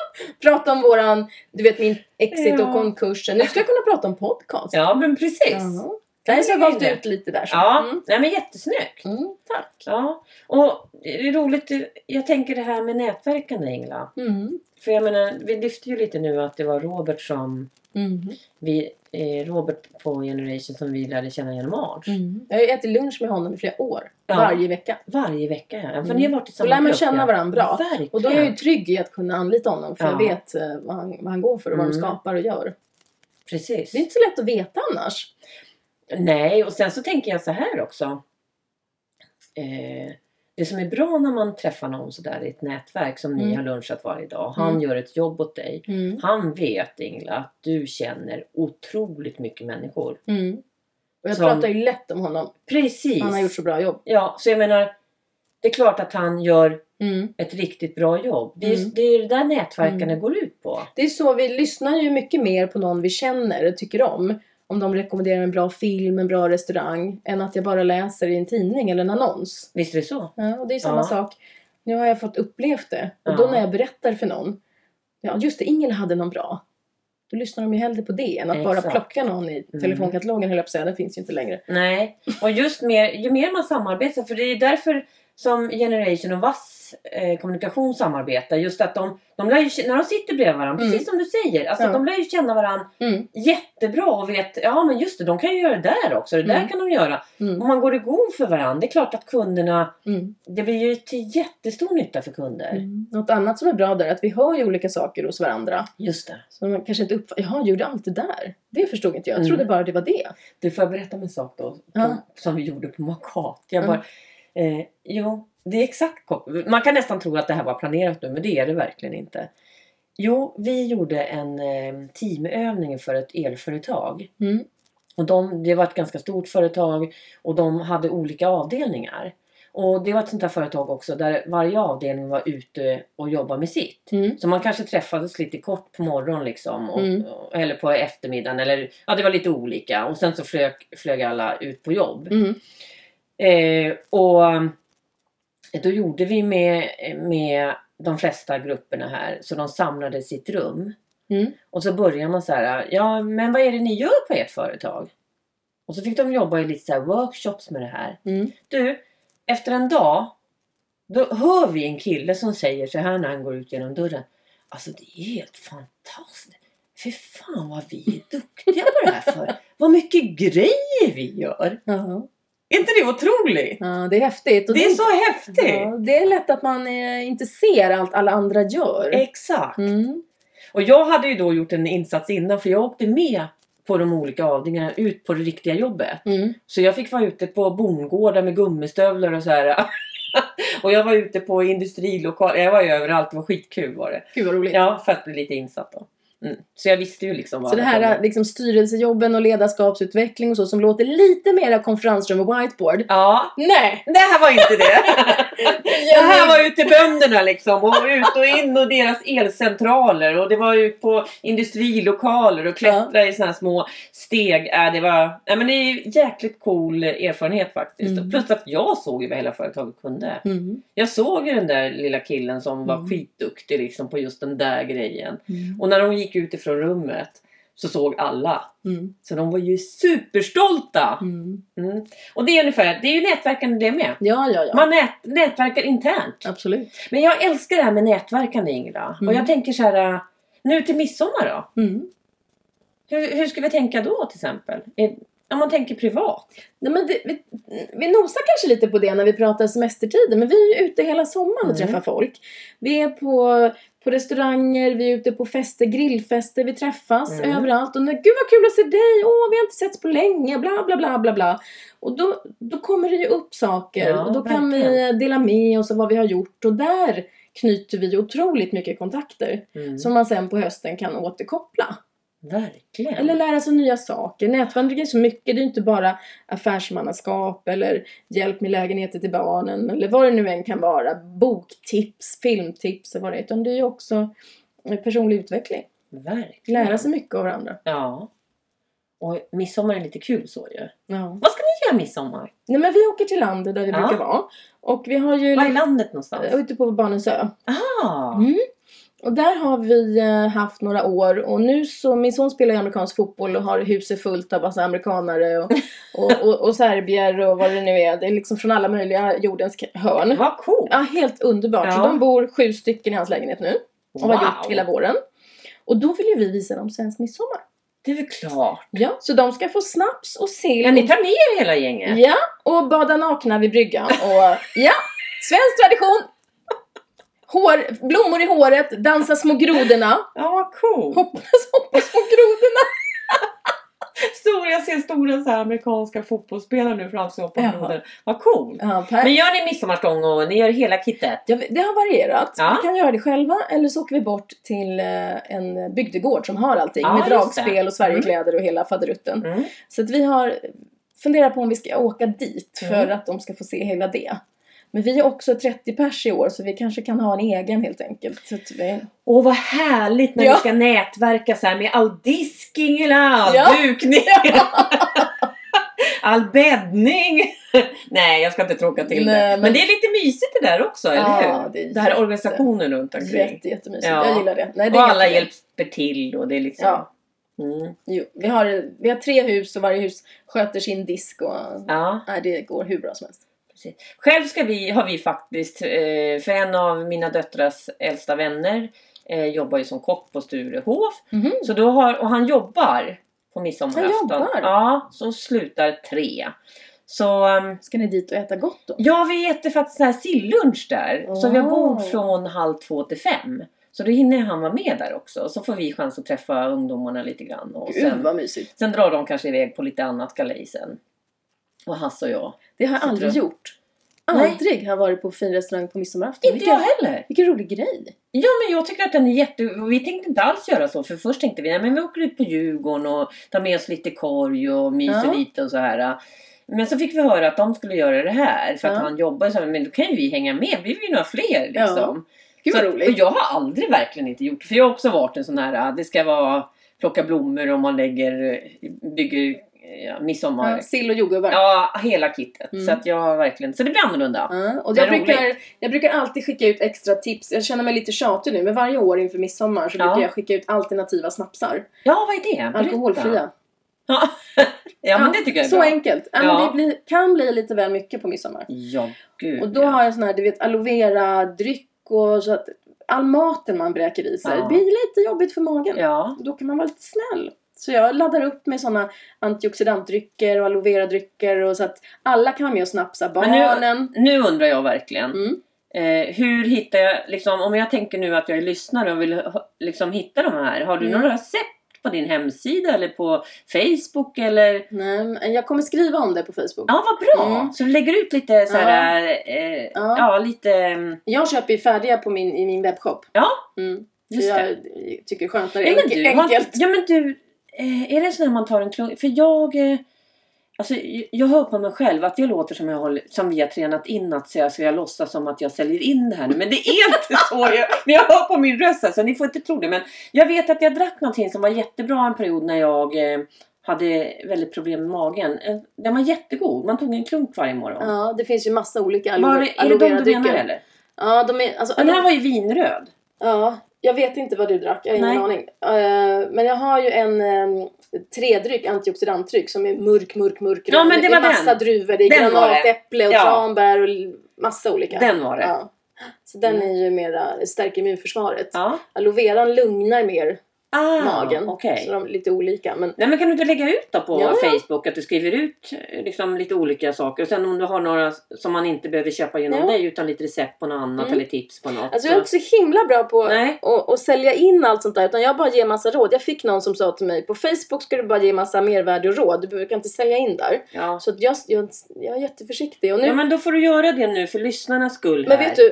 Speaker 2: prata om våran, du vet min exit
Speaker 1: Ja.
Speaker 2: och konkursen. Nu ska jag kunna prata om podcast.
Speaker 1: ja men precis.
Speaker 2: Jaha. Nej, så jag har valt ut lite där. så.
Speaker 1: Ja,
Speaker 2: Mm.
Speaker 1: nej men jättesnyggt.
Speaker 2: Mm, tack.
Speaker 1: Ja, och det är roligt, jag tänker det här med nätverkande Ingela.
Speaker 2: Mm.
Speaker 1: För jag menar, vi lyfte ju lite nu att det var Robert som
Speaker 2: Mm.
Speaker 1: vi, eh, Robert på Generation som vi lärde känna genom Arns.
Speaker 2: Mm. Jag har ju ätit lunch med honom i flera år.
Speaker 1: Ja.
Speaker 2: Varje vecka.
Speaker 1: Varje vecka. Ja. För
Speaker 2: Mm.
Speaker 1: ni har varit i samma
Speaker 2: Då lär man
Speaker 1: grupp,
Speaker 2: känna
Speaker 1: ja.
Speaker 2: varandra bra.
Speaker 1: Verkligen.
Speaker 2: Och då är jag ju trygg i att kunna anlita honom för
Speaker 1: Ja.
Speaker 2: jag vet eh, vad han, vad han går för och vad de
Speaker 1: Mm.
Speaker 2: skapar och gör.
Speaker 1: Precis.
Speaker 2: Det är inte så lätt att veta annars.
Speaker 1: Nej, och sen så tänker jag så här också. Eh, det som är bra när man träffar någon sådär i ett nätverk som ni
Speaker 2: Mm.
Speaker 1: har lunchat varje dag. Han
Speaker 2: Mm.
Speaker 1: gör ett jobb åt dig. Han vet Ingela att du känner otroligt mycket människor.
Speaker 2: Mm. Och jag
Speaker 1: Som-
Speaker 2: pratar ju lätt om honom.
Speaker 1: Precis.
Speaker 2: Han har gjort så bra jobb.
Speaker 1: Ja, så jag menar. Det är klart att han gör
Speaker 2: Mm.
Speaker 1: ett riktigt bra jobb. Det är,
Speaker 2: Mm.
Speaker 1: det, är det där nätverkande
Speaker 2: Mm.
Speaker 1: går ut på.
Speaker 2: Det är så, vi lyssnar ju mycket mer på någon vi känner och tycker om. Om de rekommenderar en bra film, en bra restaurang. Än att jag bara läser i en tidning eller en annons.
Speaker 1: Visst är det så?
Speaker 2: Ja, och det är samma
Speaker 1: Ja.
Speaker 2: sak. Nu har jag fått upplevt det. Och då
Speaker 1: Ja.
Speaker 2: när jag berättar för någon. Ja, just det, ingen hade någon bra. Då lyssnar de ju hellre på det än att bara
Speaker 1: Exakt.
Speaker 2: plocka någon i
Speaker 1: Mm.
Speaker 2: telefonkatalogen, höll jag på att säga. Den finns ju inte längre.
Speaker 1: Nej, och just mer, ju mer man samarbetar, för det är därför som Generation och Vass eh, kommunikation samarbetar. Just att de, de lär ju, k- när de sitter bredvid varandra,
Speaker 2: Mm.
Speaker 1: precis som du säger, alltså
Speaker 2: Ja.
Speaker 1: de lär ju känna varandra
Speaker 2: Mm.
Speaker 1: jättebra och vet, ja men just det, de kan ju göra det där också, det där
Speaker 2: Mm.
Speaker 1: kan de göra.
Speaker 2: Mm.
Speaker 1: Om man går i god för varandra, det är klart att kunderna,
Speaker 2: Mm.
Speaker 1: det blir ju till jättestor nytta för kunder.
Speaker 2: Mm. Något annat som är bra där är att vi hör ju olika saker hos varandra.
Speaker 1: Just det.
Speaker 2: Så man kanske inte uppfattar, jaha, gjorde allt det där? Det förstod inte jag. Jag
Speaker 1: Mm.
Speaker 2: trodde bara det var det.
Speaker 1: Du, får jag berätta om en sak då? På,
Speaker 2: Ja.
Speaker 1: Som vi gjorde på Makat. Jag
Speaker 2: Mm.
Speaker 1: bara, eh, jo, det är exakt kop- Man kan nästan tro att det här var planerat nu, men det är det verkligen inte. Jo, vi gjorde en eh, teamövning för ett elföretag.
Speaker 2: Mm.
Speaker 1: Och de, det var ett ganska stort företag och de hade olika avdelningar. Och det var ett sånt här företag också där varje avdelning var ute och jobbade med sitt.
Speaker 2: Mm.
Speaker 1: Så man kanske träffades lite kort på morgonen liksom. Och,
Speaker 2: Mm.
Speaker 1: Eller på eftermiddagen. Eller, ja, det var lite olika. Och sen så flög, flög alla ut på jobb.
Speaker 2: Mm.
Speaker 1: Eh, och eh, då eh, gjorde vi med, med de flesta grupperna här. Så de samlades i ett rum.
Speaker 2: Mm.
Speaker 1: Och så börjar man så här, ja men vad är det ni gör på ert företag? Och så fick de jobba i lite så här workshops med det här.
Speaker 2: Mm.
Speaker 1: Du, efter en dag då hör vi en kille som säger så här när han går ut genom dörren. Alltså det är helt fantastiskt. Fy fan vad vi är duktiga på det här för. Vad mycket grejer vi gör.
Speaker 2: Jaha.
Speaker 1: Är inte det otroligt?
Speaker 2: Ja, det är häftigt. Och
Speaker 1: Det är så häftigt!
Speaker 2: ja, det är lätt att man eh, inte ser allt alla andra gör.
Speaker 1: Exakt!
Speaker 2: Mm.
Speaker 1: Och jag hade ju då gjort en insats innan för jag åkte med på de olika avdelningarna ut på det riktiga jobbet.
Speaker 2: Mm.
Speaker 1: Så jag fick vara ute på bondgårdar med gummistövlar och så här. och jag var ute på industrilokaler. Jag var ju överallt. Det var skitkul var det.
Speaker 2: Gud vad roligt.
Speaker 1: Ja, för att bli lite insatt då. Mm. Så jag visste ju liksom vad
Speaker 2: Så det
Speaker 1: alla
Speaker 2: här
Speaker 1: kunde.
Speaker 2: eh, liksom, styrelsejobben och ledarskapsutveckling och så som låter lite mera konferensrum och whiteboard.
Speaker 1: Ja,
Speaker 2: Nej!
Speaker 1: det här var inte det. det här var ju till bönderna liksom. Och ut och in och deras elcentraler. Och det var ju på industrilokaler och klättra i såna här små steg. Äh, det var nej, men det är ju jäkligt cool erfarenhet faktiskt.
Speaker 2: Mm.
Speaker 1: Plus att jag såg ju vad hela företaget kunde.
Speaker 2: Mm.
Speaker 1: Jag såg ju den där lilla killen som var
Speaker 2: Mm.
Speaker 1: skitduktig liksom på just den där grejen.
Speaker 2: Mm.
Speaker 1: Och när de gick ut ifrån rummet så såg alla.
Speaker 2: Mm.
Speaker 1: Så de var ju superstolta!
Speaker 2: Mm.
Speaker 1: Mm. Och det är ungefär, det är ju nätverkande det med.
Speaker 2: Ja, ja, ja.
Speaker 1: Man nät, nätverkar internt.
Speaker 2: Absolut.
Speaker 1: Men jag älskar det här med nätverkande Ingela.
Speaker 2: Mm.
Speaker 1: Och jag tänker så här, äh, nu till midsommar då?
Speaker 2: Mm.
Speaker 1: Hur, hur ska vi tänka då till exempel? Är- Om man tänker privat?
Speaker 2: Nej, men det, vi, vi nosar kanske lite på det när vi pratar semestertider, men vi är ju ute hela sommaren och
Speaker 1: Mm.
Speaker 2: träffar folk. Vi är på, på restauranger, vi är ute på fester, grillfester, vi träffas
Speaker 1: Mm.
Speaker 2: överallt. Och nu, gud vad kul att se dig, åh vi har inte setts på länge, bla bla bla bla bla. Och då, då kommer det ju upp saker
Speaker 1: Ja,
Speaker 2: och då kan vi dela med oss av vad vi har gjort och där knyter vi otroligt mycket kontakter
Speaker 1: Mm.
Speaker 2: som man sen på hösten kan återkoppla.
Speaker 1: Verkligen.
Speaker 2: Eller lära sig nya saker. Nätvandring är så mycket. Det är ju inte bara affärsmannaskap eller hjälp med lägenheter till barnen eller vad det nu än kan vara. Boktips, filmtips och vad det är. Utan det är ju också eh, personlig utveckling.
Speaker 1: Verkligen.
Speaker 2: Lära sig mycket av varandra.
Speaker 1: Ja. Och midsommar är lite kul så ju.
Speaker 2: Ja.
Speaker 1: Vad ska ni göra midsommar?
Speaker 2: Nej men vi åker till landet där vi
Speaker 1: Ja.
Speaker 2: brukar vara. Och vi har ju...
Speaker 1: Var är landet någonstans?
Speaker 2: Ute på Barnens ö.
Speaker 1: Ah,
Speaker 2: Mm. Och där har vi eh, haft några år och nu så, min son spelar ju amerikansk fotboll och har huset fullt av massa amerikanare och, och, och, och serbier och vad det nu är. Det är liksom från alla möjliga jordens k- hörn.
Speaker 1: vad coolt!
Speaker 2: Ja, helt underbart. Så
Speaker 1: Ja.
Speaker 2: de bor sju stycken i hans lägenhet nu och har gjort hela våren. Och då vill ju vi visa dem svensk midsommar.
Speaker 1: Det är väl klart!
Speaker 2: Ja, så de ska få snaps och sill.
Speaker 1: Ja, ni tar med er hela gänget!
Speaker 2: Ja, och bada nakna vid bryggan. Och ja, svensk tradition! Hår, blommor i håret, dansa små grodorna.
Speaker 1: Ja, vad coolt!
Speaker 2: Hoppas, hoppas på grodorna.
Speaker 1: Stora, jag ser stora så här, amerikanska fotbollsspelare nu framför sig på
Speaker 2: Ja.
Speaker 1: ja. Vad coolt!
Speaker 2: Ja,
Speaker 1: Men
Speaker 2: per.
Speaker 1: gör ni midsommarstång och ni gör hela kittet?
Speaker 2: Ja, det har varierat.
Speaker 1: Ja.
Speaker 2: Vi kan göra det själva eller så åker vi bort till eh, en bygdegård som har allting
Speaker 1: Ja,
Speaker 2: med
Speaker 1: just det.
Speaker 2: dragspel och Sverigekläder och hela faderutten.
Speaker 1: Mm.
Speaker 2: Så att vi har funderat på om vi ska åka dit
Speaker 1: Mm.
Speaker 2: för att de ska få se hela det. Men vi är också 30 pers i år så vi kanske kan ha en egen helt enkelt. Så att vi...
Speaker 1: Åh vad härligt när
Speaker 2: Ja.
Speaker 1: ni ska nätverka så här med all disk Ingela, all
Speaker 2: Ja.
Speaker 1: dukning, all bäddning. Nej jag ska inte tråka till det.
Speaker 2: Nej,
Speaker 1: Men...
Speaker 2: men
Speaker 1: det är lite mysigt det där också, eller hur?
Speaker 2: det är
Speaker 1: Det här organisationen runt
Speaker 2: jätte-
Speaker 1: omkring.
Speaker 2: jätte, jättemysigt.
Speaker 1: Ja.
Speaker 2: Jag gillar det. Nej, det
Speaker 1: Och
Speaker 2: är
Speaker 1: alla
Speaker 2: jättekul.
Speaker 1: hjälper till och det är liksom...
Speaker 2: Ja.
Speaker 1: Mm.
Speaker 2: Jo, vi, har, vi har tre hus och varje hus sköter sin disk och...
Speaker 1: ja.
Speaker 2: Nej, det går hur bra som helst.
Speaker 1: Själv ska vi, har vi faktiskt, eh, för en av mina döttrars äldsta vänner eh, jobbar ju som kock på Sturehof.
Speaker 2: Mhm.
Speaker 1: Så då har, och han jobbar på midsommarafton.
Speaker 2: Han jobbar?
Speaker 1: Ja, så slutar tre. Så ehm,
Speaker 2: Ska ni dit och äta gott då?
Speaker 1: ja, vi äter faktiskt så här sillunch där. Så vi har bord
Speaker 2: Wow.
Speaker 1: från halv två till fem. Så då hinner han vara med där också. Så får vi chans att träffa ungdomarna lite grann. Och
Speaker 2: Gud
Speaker 1: sen,
Speaker 2: vad mysigt.
Speaker 1: sen drar de kanske iväg på lite annat galej sen. Och Hasse och jag.
Speaker 2: Det har jag
Speaker 1: Sitter
Speaker 2: aldrig
Speaker 1: du-
Speaker 2: gjort.
Speaker 1: Nej.
Speaker 2: Aldrig har jag varit på fin restaurang på midsommarafton.
Speaker 1: Inte
Speaker 2: vilken,
Speaker 1: jag heller!
Speaker 2: vilken rolig grej.
Speaker 1: Ja men jag tycker att den är jätte... Vi tänkte inte alls göra så för först tänkte vi nej men vi åker ut på Djurgården och tar med oss lite korg och myser
Speaker 2: Ja.
Speaker 1: lite och så här. Men så fick vi höra att de skulle göra det här för att
Speaker 2: Ja.
Speaker 1: han jobbar så här, men då kan ju vi hänga med, vi vill ju några fler liksom.
Speaker 2: Gud
Speaker 1: så,
Speaker 2: vad
Speaker 1: och
Speaker 2: roligt.
Speaker 1: jag har aldrig verkligen inte gjort det "Ah, för jag har också varit en sån här, det ska vara plocka blommor och man lägger, bygger ja, midsommar.
Speaker 2: Ja, sill och jordgubbar.
Speaker 1: Ja, hela kittet.
Speaker 2: Mm.
Speaker 1: Så att jag har verkligen... Så det blir annorlunda.
Speaker 2: Ja, och
Speaker 1: Men
Speaker 2: jag, brukar, jag brukar alltid skicka ut extra tips. Jag känner mig lite tjatig nu, men varje år inför midsommar så
Speaker 1: Ja.
Speaker 2: brukar jag skicka ut alternativa snapsar.
Speaker 1: Ja, vad är det? Berätta.
Speaker 2: Alkoholfria.
Speaker 1: Ja, ja men det tycker jag är
Speaker 2: så
Speaker 1: bra.
Speaker 2: enkelt. Ja,
Speaker 1: Ja.
Speaker 2: Men det blir, kan bli lite väl mycket på midsommar.
Speaker 1: Ja, gud
Speaker 2: Och då
Speaker 1: Mm, ja.
Speaker 2: har jag sån här, du vet, aloe vera dryck och så att all maten man bräker i sig
Speaker 1: Ja.
Speaker 2: blir lite jobbigt för magen.
Speaker 1: Ja,
Speaker 2: Då kan man vara lite snäll. Så jag laddar upp med såna antioxidantdrycker och aloe vera drycker och så att alla kan vara med och snapsa.
Speaker 1: Men nu-
Speaker 2: Barnen.
Speaker 1: nu undrar jag verkligen.
Speaker 2: Mm.
Speaker 1: Eh, hur hittar jag, liksom, om jag tänker nu att jag är lyssnare och vill hö- liksom, hitta de här. Har du
Speaker 2: Mm.
Speaker 1: några recept på din hemsida eller på Facebook eller?
Speaker 2: Nej, men jag kommer skriva om det på Facebook.
Speaker 1: Ja, vad bra!
Speaker 2: Mm.
Speaker 1: Så du lägger ut lite så här, eh, ja.
Speaker 2: Ja.
Speaker 1: lite, mm,
Speaker 2: Jag köper ju färdiga på min, i min webbshop.
Speaker 1: Ja,
Speaker 2: Mm. Så
Speaker 1: just
Speaker 2: jag
Speaker 1: det.
Speaker 2: tycker det är skönt när det
Speaker 1: Ja,
Speaker 2: är
Speaker 1: men
Speaker 2: enk-
Speaker 1: du, man,
Speaker 2: enkelt.
Speaker 1: ja men du, eh, är det en sån här man tar en klunk? För jag, eh, alltså jag, jag hör på mig själv att jag låter som jag håller, som vi har tränat in att säga så jag låtsas som att jag säljer in det här nu. Men det är inte så, jag, men jag hör på min röst här, så ni får inte tro det. Men jag vet att jag drack någonting som var jättebra en period när jag eh, hade väldigt problem med magen. Eh, Den var jättegod, man tog en klunk varje morgon.
Speaker 2: Ja, det finns ju massa
Speaker 1: Var
Speaker 2: olika aloe
Speaker 1: det, är det de du menar
Speaker 2: vera-drycker.
Speaker 1: eller?
Speaker 2: Ja, de är... Alltså,
Speaker 1: Den här
Speaker 2: aloe-
Speaker 1: var ju vinröd.
Speaker 2: Ja, jag vet inte vad du drack. Jag har ingen
Speaker 1: Nej.
Speaker 2: aning. Eh, men jag har ju en um, tredryck, antioxidantdryck, som är mörk, mörk, mörk.
Speaker 1: Ja, men det var
Speaker 2: är massa
Speaker 1: den.
Speaker 2: druvor. Det är
Speaker 1: Den var det.
Speaker 2: granatäpple och
Speaker 1: Ja.
Speaker 2: tranbär och l- massa olika.
Speaker 1: Den var det. Ja.
Speaker 2: Ja. Så den
Speaker 1: Mm.
Speaker 2: är ju mera, stärker immunförsvaret. Aloe veran lugnar mer
Speaker 1: Ah,
Speaker 2: magen.
Speaker 1: okej.
Speaker 2: Så de är lite olika. Men
Speaker 1: Nej men kan du inte lägga ut då på
Speaker 2: Ja, ja.
Speaker 1: Facebook att du skriver ut eh, liksom, lite olika saker och sen om du har några som man inte behöver köpa genom
Speaker 2: Ja.
Speaker 1: dig utan lite recept på något annat
Speaker 2: Mm.
Speaker 1: eller tips på något.
Speaker 2: Alltså jag är inte så himla bra på
Speaker 1: Nej.
Speaker 2: att att sälja in allt sånt där utan jag bara ger massa råd. Jag fick någon som sa till mig på Facebook ska du bara ge massa mervärde och råd. Du brukar inte sälja in där.
Speaker 1: ja.
Speaker 2: Så att jag, jag, jag är jätteförsiktig. Och nu,
Speaker 1: ja
Speaker 2: men,
Speaker 1: men då får du göra det nu för lyssnarnas skull här.
Speaker 2: vet du,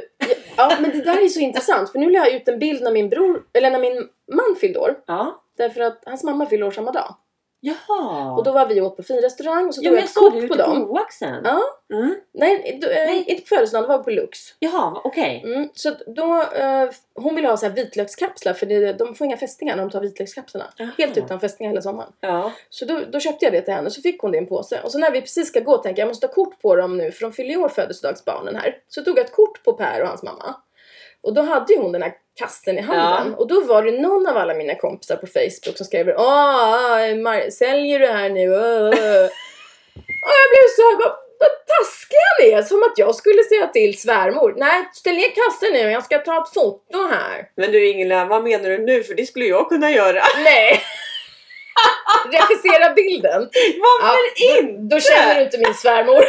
Speaker 2: jag, ja, men det där är så intressant för nu la jag ut en bild när min bror, eller när min man fyllde år.
Speaker 1: Ja.
Speaker 2: Därför att hans mamma fyllde år samma dag.
Speaker 1: Jaha.
Speaker 2: Och då var vi och åt på fin restaurang och så
Speaker 1: ja,
Speaker 2: tog
Speaker 1: men
Speaker 2: jag
Speaker 1: jag
Speaker 2: ett
Speaker 1: såg det
Speaker 2: kort på
Speaker 1: ute på
Speaker 2: dem.
Speaker 1: Oaxen.
Speaker 2: Ja.
Speaker 1: Mm.
Speaker 2: Nej, då, eh,
Speaker 1: Nej.
Speaker 2: inte på födelsedagen, det var på Lux.
Speaker 1: Jaha, okej.
Speaker 2: Mm, så att då, eh, hon vill ha så här vitlökskapslar för det, de får inga fästingar när de tar vitlökskapslarna.
Speaker 1: Jaha.
Speaker 2: Mm. Helt utan fästingar hela sommaren.
Speaker 1: Ja.
Speaker 2: Så då, då köpte jag det till henne så fick hon det i en påse. Och så när vi precis ska gå tänker jag, jag måste ta kort på dem nu för de fyller i år födelsedagsbarnen här. Så tog jag ett kort på Per och hans mamma. Och då hade ju hon den här kasten i handen. Och då var det någon av alla mina kompisar på Facebook som skrev Åh, Mar- säljer du här nu? Åh, åh." Och jag blev så här, vad, vad taskiga ni är! Som att jag skulle säga till svärmor, nej ställ ner kassen nu, jag ska ta ett foto här.
Speaker 1: Men du Ingela, vad menar du nu? För det skulle jag kunna göra.
Speaker 2: Nej! Regissera bilden.
Speaker 1: Varför
Speaker 2: Ja,
Speaker 1: inte?
Speaker 2: Då känner du inte min svärmor.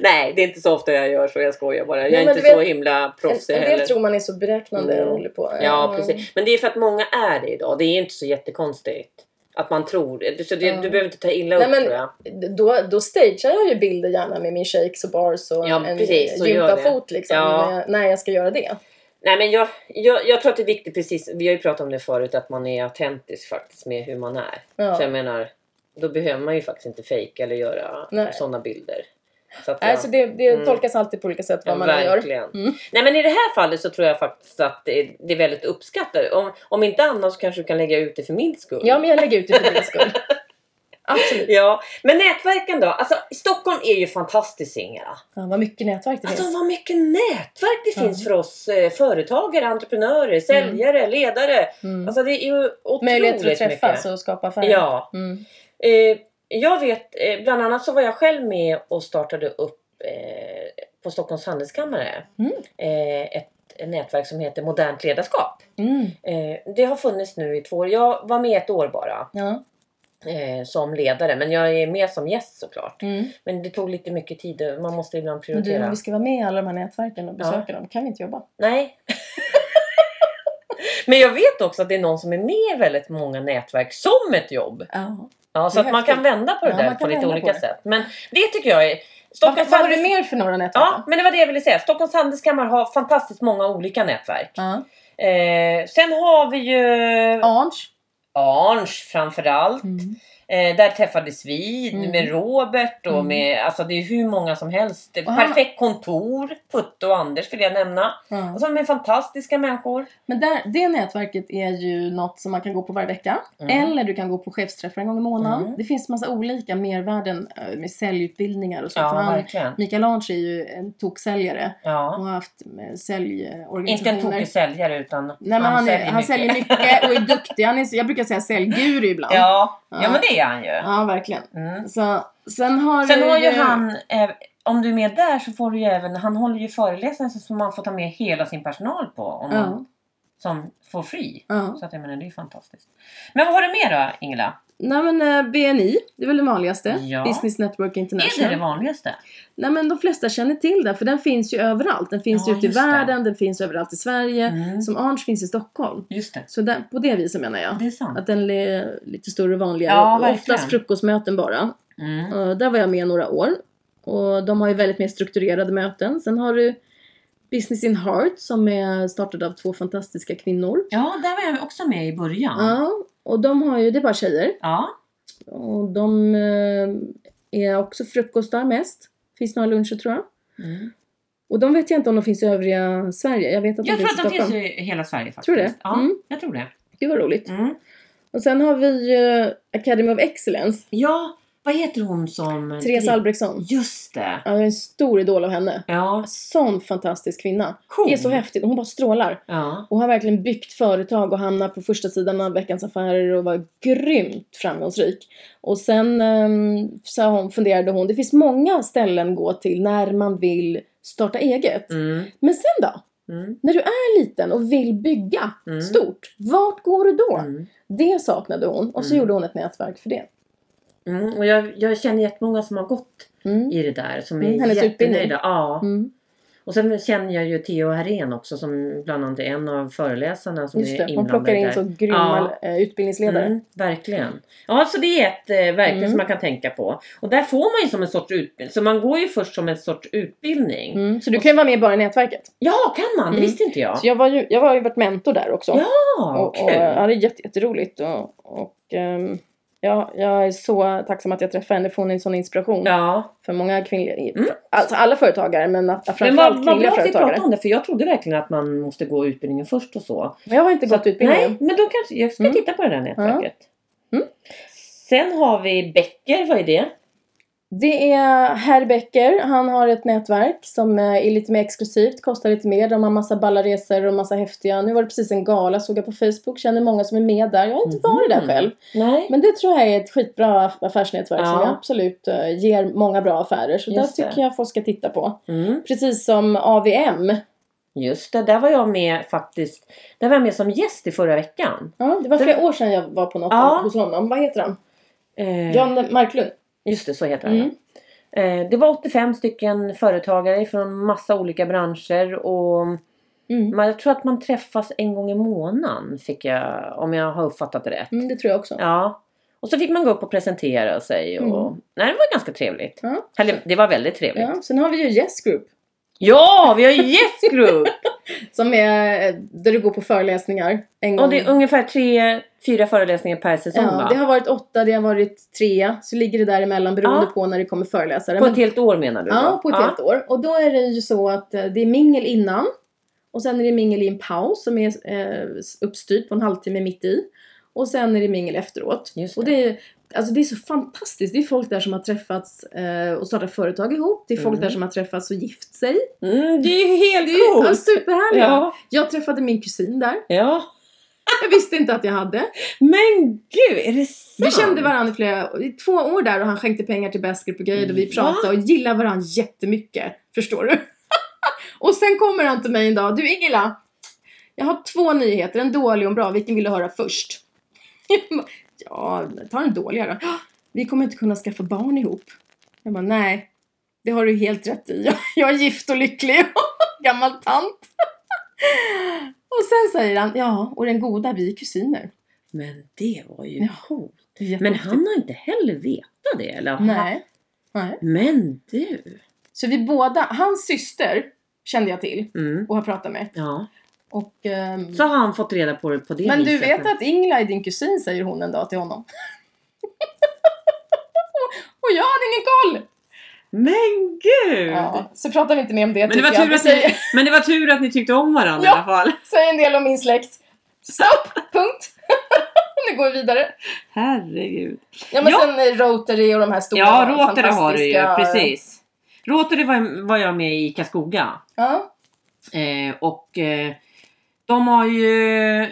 Speaker 1: Nej, det är inte så ofta jag gör så. Jag skojar bara. Jag
Speaker 2: Nej,
Speaker 1: är
Speaker 2: men
Speaker 1: inte
Speaker 2: du
Speaker 1: så
Speaker 2: vet-
Speaker 1: himla
Speaker 2: En,
Speaker 1: proffsig
Speaker 2: en
Speaker 1: heller.
Speaker 2: del tror man är så beräknande
Speaker 1: Mm.
Speaker 2: och håller på.
Speaker 1: Ja, precis. Men det är för att många är det idag. Det är inte så jättekonstigt. Att man tror det. Så det,
Speaker 2: Ja.
Speaker 1: Du behöver inte ta illa
Speaker 2: Nej,
Speaker 1: upp
Speaker 2: men-
Speaker 1: tror jag.
Speaker 2: Då, då stagear jag ju bilder gärna med min shakes och bars och
Speaker 1: Ja,
Speaker 2: en
Speaker 1: precis, så gör det.
Speaker 2: gympafot liksom,
Speaker 1: Ja.
Speaker 2: när, jag, när jag ska göra det.
Speaker 1: Nej, men jag, jag, jag tror att det är viktigt precis. Vi har ju pratat om det förut. Att man är autentisk faktiskt med hur man är.
Speaker 2: Ja.
Speaker 1: Så jag menar, då behöver man ju faktiskt inte fejka eller göra
Speaker 2: Nej.
Speaker 1: sådana bilder. Så att jag-
Speaker 2: Alltså det det
Speaker 1: Mm.
Speaker 2: tolkas alltid på olika sätt vad
Speaker 1: Ja,
Speaker 2: man än gör.
Speaker 1: verkligen.
Speaker 2: Mm.
Speaker 1: Nej men i det här fallet så tror jag faktiskt att det, det är väldigt uppskattat. Om, om inte annars kanske du kan lägga ut det för min skull.
Speaker 2: Ja, men jag lägger ut det för din skull. Absolut.
Speaker 1: ja. men nätverken då? Alltså Stockholm är ju fantastiskt Ingela.
Speaker 2: Ja, vad mycket nätverk det
Speaker 1: Alltså
Speaker 2: finns.
Speaker 1: vad mycket nätverk det
Speaker 2: Ja.
Speaker 1: finns för oss eh, företagare, entreprenörer, säljare, ledare.
Speaker 2: Mm.
Speaker 1: Alltså det är ju otroligt
Speaker 2: Möjligheter att träffas
Speaker 1: mycket.
Speaker 2: och skapa affärer.
Speaker 1: Ja.
Speaker 2: Mm.
Speaker 1: Eh, jag vet, eh, bland annat så var jag själv med och startade upp eh, på Stockholms Handelskammare
Speaker 2: Mm.
Speaker 1: eh, ett, ett nätverk som heter Modernt ledarskap.
Speaker 2: Mm.
Speaker 1: Eh, det har funnits nu i två år. Jag var med ett år bara
Speaker 2: Ja.
Speaker 1: eh, som ledare men jag är med som gäst såklart.
Speaker 2: Mm.
Speaker 1: Men det tog lite mycket tid. Man måste ibland
Speaker 2: Men du,
Speaker 1: prioritera.
Speaker 2: om vi ska vara med i alla de här nätverken och besöka dem, kan vi inte jobba?
Speaker 1: Nej. Men jag vet också att det är någon som är med i väldigt många nätverk som ett jobb.
Speaker 2: Ja.
Speaker 1: Ja,
Speaker 2: Det
Speaker 1: så
Speaker 2: är
Speaker 1: att man
Speaker 2: häftigt.
Speaker 1: kan vända på det
Speaker 2: Ja,
Speaker 1: där
Speaker 2: man
Speaker 1: på
Speaker 2: kan
Speaker 1: lite
Speaker 2: vända
Speaker 1: olika
Speaker 2: på det.
Speaker 1: sätt. Men det tycker jag är...
Speaker 2: Vad,
Speaker 1: Stockholms
Speaker 2: vad har
Speaker 1: Handels-
Speaker 2: du mer för några nätverk?
Speaker 1: Ja, men det var det jag ville säga. Stockholms Handelskammare har fantastiskt många olika nätverk.
Speaker 2: Ja.
Speaker 1: Eh, sen har vi ju
Speaker 2: Arns.
Speaker 1: Arns framförallt.
Speaker 2: Mm.
Speaker 1: Eh, där träffades vi
Speaker 2: Mm.
Speaker 1: med Robert och
Speaker 2: Mm.
Speaker 1: med, alltså det är hur många som helst.
Speaker 2: Och han-
Speaker 1: Perfekt kontor, Putte och Anders vill jag nämna.
Speaker 2: Ja.
Speaker 1: Och så är fantastiska människor.
Speaker 2: Men där, det nätverket är ju något som man kan gå på varje vecka.
Speaker 1: Mm.
Speaker 2: Eller du kan gå på chefsträffar en gång i månaden.
Speaker 1: Mm.
Speaker 2: Det finns massa olika mervärden eh, med säljutbildningar och så.
Speaker 1: Ja,
Speaker 2: För han,
Speaker 1: verkligen.
Speaker 2: Mikael Arntz är ju en toksäljare och
Speaker 1: Ja.
Speaker 2: har haft eh,
Speaker 1: Inte en
Speaker 2: säljorganisationer.
Speaker 1: tokig säljare utan
Speaker 2: Nej, men han, är, han säljer mycket och är duktig. Han är, så- jag brukar säga säljguru ibland.
Speaker 1: Ja. ja, men det är han ju.
Speaker 2: Ja, verkligen.
Speaker 1: Mm.
Speaker 2: Så, sen har,
Speaker 1: Sen har ju
Speaker 2: eh,
Speaker 1: han, eh, om du är med där så får du ju även, han håller ju föreläsningar som man får ta med hela sin personal på. Om
Speaker 2: Ja,
Speaker 1: man, som får fri.
Speaker 2: ja.
Speaker 1: Så att jag menar, det är ju fantastiskt. Men vad har du mer då, Ingela?
Speaker 2: Nej, men eh, BNI, det är väl det vanligaste.
Speaker 1: Ja.
Speaker 2: Business Network
Speaker 1: Är det
Speaker 2: International.
Speaker 1: det vanligaste?
Speaker 2: Nej, men de flesta känner till den, för den finns ju överallt. Den finns
Speaker 1: Ja,
Speaker 2: ute i
Speaker 1: just det.
Speaker 2: världen, den finns överallt i Sverige.
Speaker 1: Mm.
Speaker 2: Som Arns finns i Stockholm.
Speaker 1: Just det.
Speaker 2: Så den, på det viset menar jag.
Speaker 1: Det är sant.
Speaker 2: Att den är lite större och vanligare.
Speaker 1: Ja,
Speaker 2: Och
Speaker 1: verkligen.
Speaker 2: oftast frukostmöten bara.
Speaker 1: Mm.
Speaker 2: Och där var jag med några år. Och de har ju väldigt mer strukturerade möten. Sen har du Business in Heart som är startad av två fantastiska kvinnor.
Speaker 1: Ja, där var jag också med i början.
Speaker 2: Ja, och de har ju, det är bara tjejer.
Speaker 1: Ja.
Speaker 2: Och de eh, är också frukostar mest. Finns några luncher tror jag.
Speaker 1: Mm.
Speaker 2: Och de vet jag inte om de finns i övriga Sverige. Jag vet att
Speaker 1: Jag
Speaker 2: de
Speaker 1: tror
Speaker 2: finns
Speaker 1: att de
Speaker 2: i
Speaker 1: finns
Speaker 2: Stockholm.
Speaker 1: i hela Sverige faktiskt.
Speaker 2: Tror du det?
Speaker 1: Ja,
Speaker 2: Mm.
Speaker 1: jag tror det.
Speaker 2: Gud vad roligt.
Speaker 1: Mm.
Speaker 2: Och sen har vi ju Academy of Excellence.
Speaker 1: Ja, vad heter hon som...
Speaker 2: Therese Albrektsson.
Speaker 1: Just det.
Speaker 2: Ja, jag är en stor idol av henne.
Speaker 1: Ja,
Speaker 2: Sån fantastisk kvinna.
Speaker 1: cool.
Speaker 2: Det är så häftigt. Hon bara strålar.
Speaker 1: Ja.
Speaker 2: Och har verkligen byggt företag och hamnat på första sidan av Veckans Affärer och var grymt framgångsrik. Och sen um, så hon, funderade hon, det finns många ställen att gå till när man vill starta eget.
Speaker 1: Mm.
Speaker 2: Men sen då?
Speaker 1: Mm.
Speaker 2: När du är liten och vill bygga
Speaker 1: Mm.
Speaker 2: stort, vart går du då?
Speaker 1: Mm.
Speaker 2: Det saknade hon och så
Speaker 1: Mm.
Speaker 2: gjorde hon ett nätverk för det.
Speaker 1: Mm, och jag, jag känner jättemånga som har gått
Speaker 2: Mm.
Speaker 1: i det där som är
Speaker 2: Mm, hennes utbildning.
Speaker 1: jättenöjda. Ja.
Speaker 2: Mm.
Speaker 1: Och sen känner jag ju Theo Herén också som bland annat är en av föreläsarna som
Speaker 2: Just
Speaker 1: är
Speaker 2: det, hon
Speaker 1: inblandad
Speaker 2: plockar in
Speaker 1: där.
Speaker 2: så grymma eh, utbildningsledare.
Speaker 1: Mm, verkligen. Ja, så det är ett eh, verkligen
Speaker 2: Mm.
Speaker 1: som man kan tänka på. Och där får man ju som en sorts utbildning. Så man går ju först som en sorts utbildning.
Speaker 2: Mm. Så du kan ju vara med bara i nätverket.
Speaker 1: Ja, kan man? Det
Speaker 2: Mm.
Speaker 1: visste inte jag.
Speaker 2: Så jag, var ju, jag har ju varit mentor där också.
Speaker 1: Ja,
Speaker 2: och, eh, och,
Speaker 1: kul.
Speaker 2: ja, det är jätte, jätteroligt. Och, och, ehm, ja, jag är så tacksam att jag träffade henne för hon är en sån inspiration
Speaker 1: ja.
Speaker 2: för många kvinnliga, i-
Speaker 1: Mm.
Speaker 2: alltså alla företagare men att- att
Speaker 1: Men vad,
Speaker 2: framförallt
Speaker 1: vad
Speaker 2: kvinnliga
Speaker 1: bra att vi
Speaker 2: företagare.
Speaker 1: pratade om det för jag trodde verkligen att man måste gå utbildningen först och så.
Speaker 2: Men jag har inte
Speaker 1: Så
Speaker 2: gått
Speaker 1: att-
Speaker 2: utbildningen.
Speaker 1: Nej, men då kanske, jag ska
Speaker 2: Mm.
Speaker 1: titta på det där nätverket.
Speaker 2: Mm.
Speaker 1: Sen har vi Becker, vad är det?
Speaker 2: Det är herr Becker, han har ett nätverk som eh, är lite mer exklusivt, kostar lite mer. De har massa balla resor och massa häftiga. Nu var det precis en gala såg jag på Facebook, känner många som är med där. Jag har inte varit där
Speaker 1: Mhm.
Speaker 2: själv.
Speaker 1: Nej.
Speaker 2: Men det tror jag är ett skitbra aff- affärsnätverk som
Speaker 1: Ja.
Speaker 2: jag absolut eh, ger många bra affärer. Så
Speaker 1: Just
Speaker 2: där
Speaker 1: det.
Speaker 2: tycker jag folk ska titta på.
Speaker 1: Mm.
Speaker 2: Precis som AVM.
Speaker 1: Just det, där var jag med faktiskt. Där var jag med som gäst i förra veckan.
Speaker 2: Ja, det var
Speaker 1: Det-
Speaker 2: flera år sedan jag var på något
Speaker 1: Ja.
Speaker 2: hos honom. Vad heter han?
Speaker 1: Eh,
Speaker 2: Jan Marklund.
Speaker 1: Just det, så heter han.
Speaker 2: Mm.
Speaker 1: Eh, det var 85 stycken företagare från massa olika branscher och
Speaker 2: Mm.
Speaker 1: man, jag tror att man träffas en gång i månaden fick jag, om jag har uppfattat det rätt.
Speaker 2: Mm, det tror jag också.
Speaker 1: Ja. Och så fick man gå upp och presentera sig. Och... Nej, det var ganska trevligt.
Speaker 2: Mm. Ja.
Speaker 1: Eller, det var väldigt trevligt.
Speaker 2: Ja, sen har vi ju Yes Group.
Speaker 1: Ja, vi har ju Yes Group!
Speaker 2: Som är eh, där du går på föreläsningar en gång.
Speaker 1: Och det är ungefär tre, fyra föreläsningar per säsong
Speaker 2: ja,
Speaker 1: va?
Speaker 2: det har varit åtta, det har varit tre. Så ligger det däremellan beroende
Speaker 1: Ja.
Speaker 2: på när det kommer föreläsare.
Speaker 1: På
Speaker 2: Men-
Speaker 1: ett helt år menar du?
Speaker 2: Ja,
Speaker 1: då?
Speaker 2: på ett helt år. Och då är det ju så att eh, det är mingel innan. Och sen är det mingel i en paus som är eh, uppstyrt på en halvtimme mitt i. Och sen är det mingel efteråt.
Speaker 1: Just
Speaker 2: Och det är, alltså det är så fantastiskt. Det är folk där som har träffats eh, och startat företag ihop. Det är folk
Speaker 1: Mm.
Speaker 2: där som har träffats och gift sig.
Speaker 1: Mm, det är ju helt
Speaker 2: Det är
Speaker 1: coolt!
Speaker 2: alltså, superhärliga.
Speaker 1: Ja,
Speaker 2: Jag träffade min kusin där.
Speaker 1: ja.
Speaker 2: Jag visste inte att jag hade.
Speaker 1: Men gud, är det sant?
Speaker 2: Vi kände varandra i flera, i två år där och han skänkte pengar till Basket på grejer och vi pratade och gillade varandra jättemycket. Förstår du? och sen kommer han till mig en dag. Du Ingela, jag har två nyheter, en dålig och en bra. Vilken vill du höra först? Jag bara, ja, ta den dåliga då. Vi kommer inte kunna skaffa barn ihop. Jag bara, nej. Det har du helt rätt i. Jag, jag är gift och lycklig. Gammal tant. och sen säger han, ja, och den goda, vi är kusiner.
Speaker 1: Men det var ju
Speaker 2: Ja.
Speaker 1: coolt. Men han har inte heller vetat det eller?
Speaker 2: Nej. Nej.
Speaker 1: Men du!
Speaker 2: Så vi båda, hans syster kände jag till
Speaker 1: Mm.
Speaker 2: och har pratat med.
Speaker 1: Ja.
Speaker 2: Och, ehm,
Speaker 1: Så har han fått reda på det på det
Speaker 2: men du
Speaker 1: viset.
Speaker 2: vet att Ingla är din kusin säger hon en dag till honom. Och jag hade ingen koll!
Speaker 1: Men gud!
Speaker 2: Ja, så pratar vi inte mer om det
Speaker 1: Men det, var
Speaker 2: tycker jag.
Speaker 1: tur
Speaker 2: Vi
Speaker 1: att
Speaker 2: säger,
Speaker 1: ni, men det var tur att ni tyckte om varandra
Speaker 2: Ja.
Speaker 1: i alla fall.
Speaker 2: säger en del om min släkt. Stopp! Punkt! nu går vi vidare.
Speaker 1: Herregud.
Speaker 2: Ja men
Speaker 1: Ja.
Speaker 2: sen eh, Rotary och de här stora
Speaker 1: Ja, Råtere har du ju.
Speaker 2: fantastiska-
Speaker 1: Precis. Råtere var, var jag med i Karlskoga.
Speaker 2: Ja,
Speaker 1: Eh, och eh, de har ju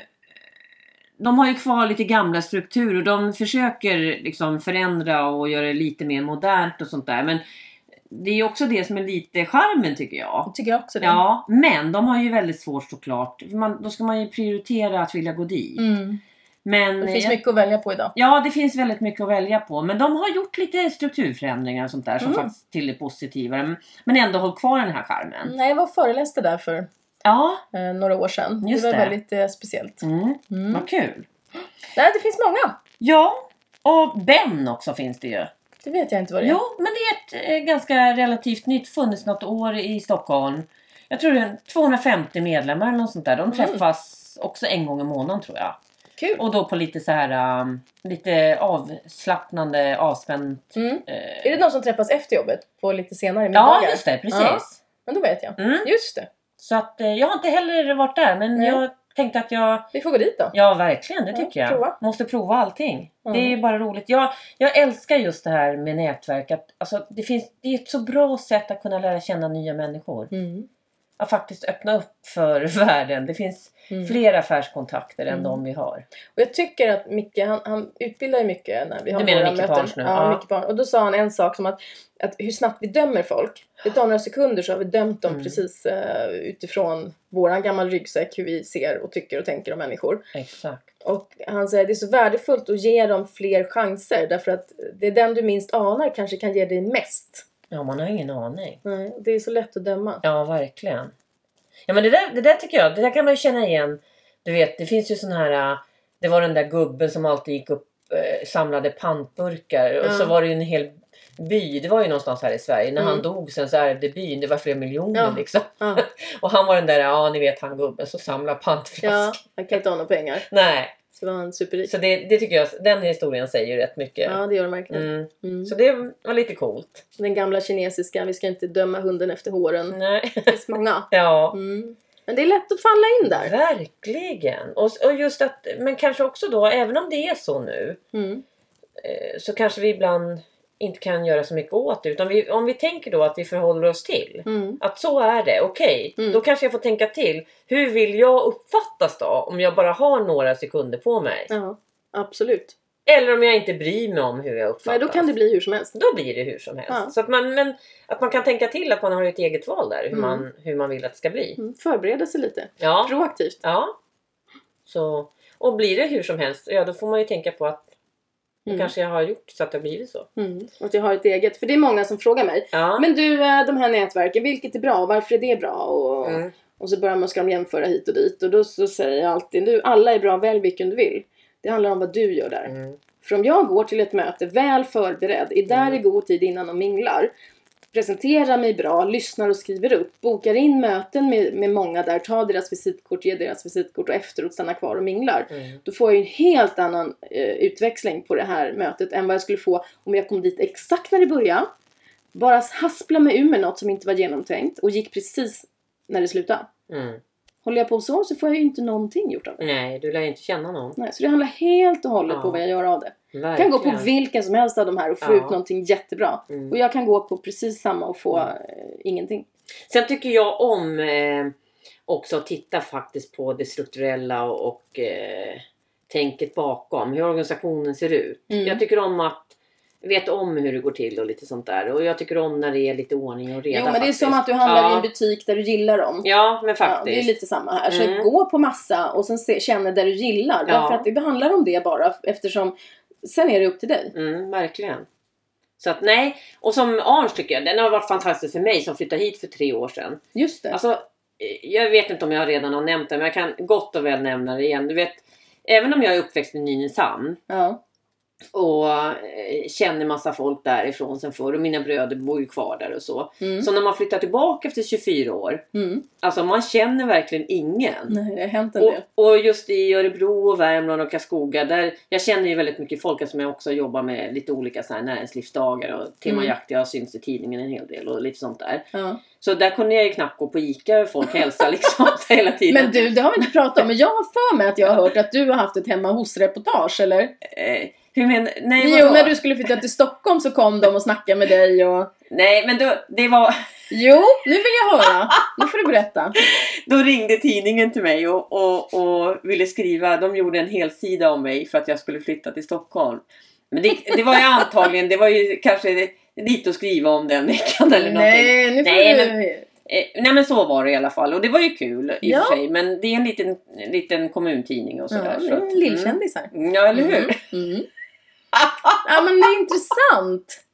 Speaker 1: de har ju kvar lite gamla strukturer. De försöker liksom förändra och göra det lite mer modernt och sånt där. Men det är ju också det som är lite charmen tycker jag.
Speaker 2: tycker jag också det.
Speaker 1: Ja, men de har ju väldigt svårt såklart. Man, då ska man ju prioritera att vilja gå dit.
Speaker 2: Mm.
Speaker 1: Men, eh,
Speaker 2: Det finns
Speaker 1: jag-
Speaker 2: mycket att välja på idag.
Speaker 1: Ja, det finns väldigt mycket att välja på. Men de har gjort lite strukturförändringar och sånt där som
Speaker 2: Mm.
Speaker 1: faktiskt till det positivare. Men ändå håll kvar den här charmen.
Speaker 2: Nej, jag var och föreläste där för
Speaker 1: Ja,
Speaker 2: eh, några år sedan.
Speaker 1: Just
Speaker 2: det var
Speaker 1: det.
Speaker 2: väldigt eh, speciellt.
Speaker 1: mm,
Speaker 2: Mm.
Speaker 1: vad kul.
Speaker 2: Nej, det finns många.
Speaker 1: Ja, och Ben också finns det ju.
Speaker 2: Det vet jag inte vad det är.
Speaker 1: Jo, men det är ett eh, ganska relativt nytt, funnits något år i Stockholm. Jag tror det är 250 medlemmar eller något sånt där. De
Speaker 2: Mm.
Speaker 1: träffas också en gång i månaden tror jag.
Speaker 2: Kul!
Speaker 1: Och då på lite så här um, lite avslappnande, avspänt.
Speaker 2: Mm.
Speaker 1: eh,
Speaker 2: Är det någon som träffas efter jobbet? På lite senare middagar?
Speaker 1: Ja, just det, precis.
Speaker 2: Men då vet jag.
Speaker 1: Mm.
Speaker 2: Just det.
Speaker 1: Så att eh, jag har inte heller varit där, men
Speaker 2: Nej.
Speaker 1: jag tänkte att jag
Speaker 2: Vi får gå dit då.
Speaker 1: Ja, verkligen. Det
Speaker 2: Ja,
Speaker 1: tycker jag.
Speaker 2: prova.
Speaker 1: Måste prova allting.
Speaker 2: Mm.
Speaker 1: Det är ju bara roligt. Jag, jag älskar just det här med nätverk. Att, alltså, det, finns, det är ett så bra sätt att kunna lära känna nya människor.
Speaker 2: Mm.
Speaker 1: Att faktiskt öppna upp för världen. Det finns
Speaker 2: Mm.
Speaker 1: fler affärskontakter än
Speaker 2: Mm.
Speaker 1: de vi har.
Speaker 2: Och jag tycker att Micke, han, han utbildar ju mycket när vi har
Speaker 1: Du menar
Speaker 2: våra
Speaker 1: Micke
Speaker 2: möten.
Speaker 1: Barnes nu?
Speaker 2: Ja,
Speaker 1: Ja.
Speaker 2: Micke Barnes. Och då sa han en sak som att, att hur snabbt vi dömer folk. Det tar några sekunder så har vi dömt dem
Speaker 1: Mm.
Speaker 2: precis eh, utifrån våran gammal ryggsäck, hur vi ser och tycker och tänker om människor.
Speaker 1: Exakt.
Speaker 2: Och han säger det är så värdefullt att ge dem fler chanser därför att det är den du minst anar kanske kan ge dig mest.
Speaker 1: Ja, man har ingen aning.
Speaker 2: Nej, det är så lätt att döma.
Speaker 1: Ja, verkligen. Ja, men det där, det där tycker jag. Det där kan man ju känna igen. Du vet, det finns ju sån här... äh, Det var den där gubben som alltid gick upp eh, samlade pantburkar. Och så
Speaker 2: Ja.
Speaker 1: var det ju en hel by. Det var ju någonstans här i Sverige. När han
Speaker 2: Mm.
Speaker 1: dog sen så ärvde byn. Det var flera miljoner
Speaker 2: Ja.
Speaker 1: liksom.
Speaker 2: Ja,
Speaker 1: Och han var den där, ja ni vet han gubben som samlar pantflaskor.
Speaker 2: ja han kan inte ha några pengar.
Speaker 1: Nej,
Speaker 2: Så var han superrik.
Speaker 1: så det, det tycker jag. Den historien säger ju rätt mycket.
Speaker 2: Ja, det gör han verkligen.
Speaker 1: Mm.
Speaker 2: Mm.
Speaker 1: Så det var lite coolt.
Speaker 2: Den gamla kinesiska, vi ska inte döma hunden efter håren.
Speaker 1: Nej.
Speaker 2: Det finns många.
Speaker 1: ja.
Speaker 2: Mm. Men det är lätt att falla in där.
Speaker 1: Verkligen! Och, och just att, men kanske också då, även om det är så nu,
Speaker 2: Mm.
Speaker 1: eh, så kanske vi ibland inte kan göra så mycket åt det. Utan vi, om vi tänker då att vi förhåller oss till
Speaker 2: Mm.
Speaker 1: att så är det, okej,
Speaker 2: Mm.
Speaker 1: då kanske jag får tänka till. Hur vill jag uppfattas då om jag bara har några sekunder på mig?
Speaker 2: Ja, absolut.
Speaker 1: Eller om jag inte bryr mig om hur jag uppfattas.
Speaker 2: Nej, då kan det bli hur som helst.
Speaker 1: då blir det hur som helst.
Speaker 2: Ja.
Speaker 1: Så att man, men att man kan tänka till att man har ett eget val där, hur,
Speaker 2: Mm.
Speaker 1: man, hur man vill att det ska bli.
Speaker 2: Mm. Förbereda sig lite.
Speaker 1: Ja.
Speaker 2: Proaktivt.
Speaker 1: Ja. Så, och blir det hur som helst, ja då får man ju tänka på att
Speaker 2: Mm.
Speaker 1: kanske jag har gjort så att det har blivit så.
Speaker 2: Mm. Och att jag har ett eget. För det är många som frågar mig.
Speaker 1: Ja.
Speaker 2: Men du, eh, de här nätverken, vilket är bra? Varför är det bra? Och,
Speaker 1: Mm.
Speaker 2: och så börjar man, ska de jämföra hit och dit. Och då så säger jag alltid, du, alla är bra, välj vilken du vill. Det handlar om vad du gör där.
Speaker 1: Mm.
Speaker 2: För om jag går till ett möte väl förberedd, är där
Speaker 1: Mm.
Speaker 2: i god tid innan de minglar, presenterar mig bra, lyssnar och skriver upp, bokar in möten med, med många där, tar deras visitkort, ger deras visitkort och efteråt stannar kvar och minglar.
Speaker 1: Mm.
Speaker 2: Då får jag ju en helt annan eh, utväxling på det här mötet än vad jag skulle få om jag kom dit exakt när det började, bara hasplade mig ur med något som inte var genomtänkt och gick precis när det slutade.
Speaker 1: Mm.
Speaker 2: Håller jag på så, så får jag ju inte någonting gjort av det.
Speaker 1: Nej, du lär ju inte känna någon.
Speaker 2: Nej, så det handlar helt och hållet på
Speaker 1: Ja.
Speaker 2: vad jag gör av det. Jag kan
Speaker 1: Verkligen.
Speaker 2: gå på vilken som helst av de här och få
Speaker 1: Ja.
Speaker 2: ut någonting jättebra.
Speaker 1: Mm.
Speaker 2: Och jag kan gå på precis samma och få
Speaker 1: Mm.
Speaker 2: eh, ingenting.
Speaker 1: Sen tycker jag om eh, också att titta faktiskt på det strukturella och eh, tänket bakom, hur organisationen ser ut.
Speaker 2: Mm.
Speaker 1: Jag tycker om att veta om hur det går till och lite sånt där. Och jag tycker om när det är lite ordning och reda
Speaker 2: jo men det är
Speaker 1: faktiskt.
Speaker 2: som att du handlar i en
Speaker 1: ja.
Speaker 2: butik där du gillar dem.
Speaker 1: Ja, men
Speaker 2: Ja,
Speaker 1: faktiskt.
Speaker 2: det är lite samma här. Så
Speaker 1: Mm.
Speaker 2: gå på massa och sen se, känna där du gillar.
Speaker 1: Ja.
Speaker 2: Därför att det handlar om det bara eftersom sen är det upp till dig.
Speaker 1: Mm, verkligen. Så att nej, och som Arns tycker jag, den har varit fantastisk för mig som flyttade hit för tre år sedan.
Speaker 2: Just det.
Speaker 1: Alltså, eh, jag vet inte om jag redan har nämnt det, men jag kan gott och väl nämna det igen. Du vet, även om jag är uppväxt i Nynäshamn
Speaker 2: ja.
Speaker 1: och eh, känner massa folk därifrån sen förr och mina bröder bor ju kvar där och så.
Speaker 2: Mm.
Speaker 1: Så när man flyttar tillbaka efter 24 år,
Speaker 2: Mm.
Speaker 1: alltså man känner verkligen ingen.
Speaker 2: Nej, det har hänt en
Speaker 1: Och,
Speaker 2: del.
Speaker 1: och just i Örebro och Värmland och Karlskoga, där jag känner ju väldigt mycket folk eftersom jag också jobbar med lite olika så här näringslivsdagar och Tema
Speaker 2: Mm.
Speaker 1: Jakt, jag syns i tidningen en hel del och lite sånt där.
Speaker 2: Ja.
Speaker 1: Så där kunde jag ju knappt gå på ICA, folk hälsar liksom hela tiden.
Speaker 2: Men du, det har vi inte pratat om, men jag har för mig att jag har hört att du har haft ett hemma hos-reportage, eller?
Speaker 1: Eh, hur menar Nej,
Speaker 2: Jo,
Speaker 1: vadå?
Speaker 2: när du skulle flytta till Stockholm så kom de och snackade med dig och...
Speaker 1: Nej, men då, det var...
Speaker 2: Jo, nu vill jag höra! Nu får du berätta.
Speaker 1: Då ringde tidningen till mig och, och, och ville skriva, de gjorde en hel sida om mig för att jag skulle flytta till Stockholm. Men det, det var ju antagligen, det var ju kanske lite att skriva om den veckan eller någonting.
Speaker 2: Nej, nu får
Speaker 1: Nej,
Speaker 2: du...
Speaker 1: Eh, nej men så var det i alla fall och det var ju kul i
Speaker 2: Ja.
Speaker 1: och för sig. Men det är en liten, en liten kommuntidning och sådär.
Speaker 2: Ja,
Speaker 1: så att-
Speaker 2: det är lillkändisar.
Speaker 1: Mm. Ja, eller hur?
Speaker 2: Mm. Mm. ja, men det är intressant.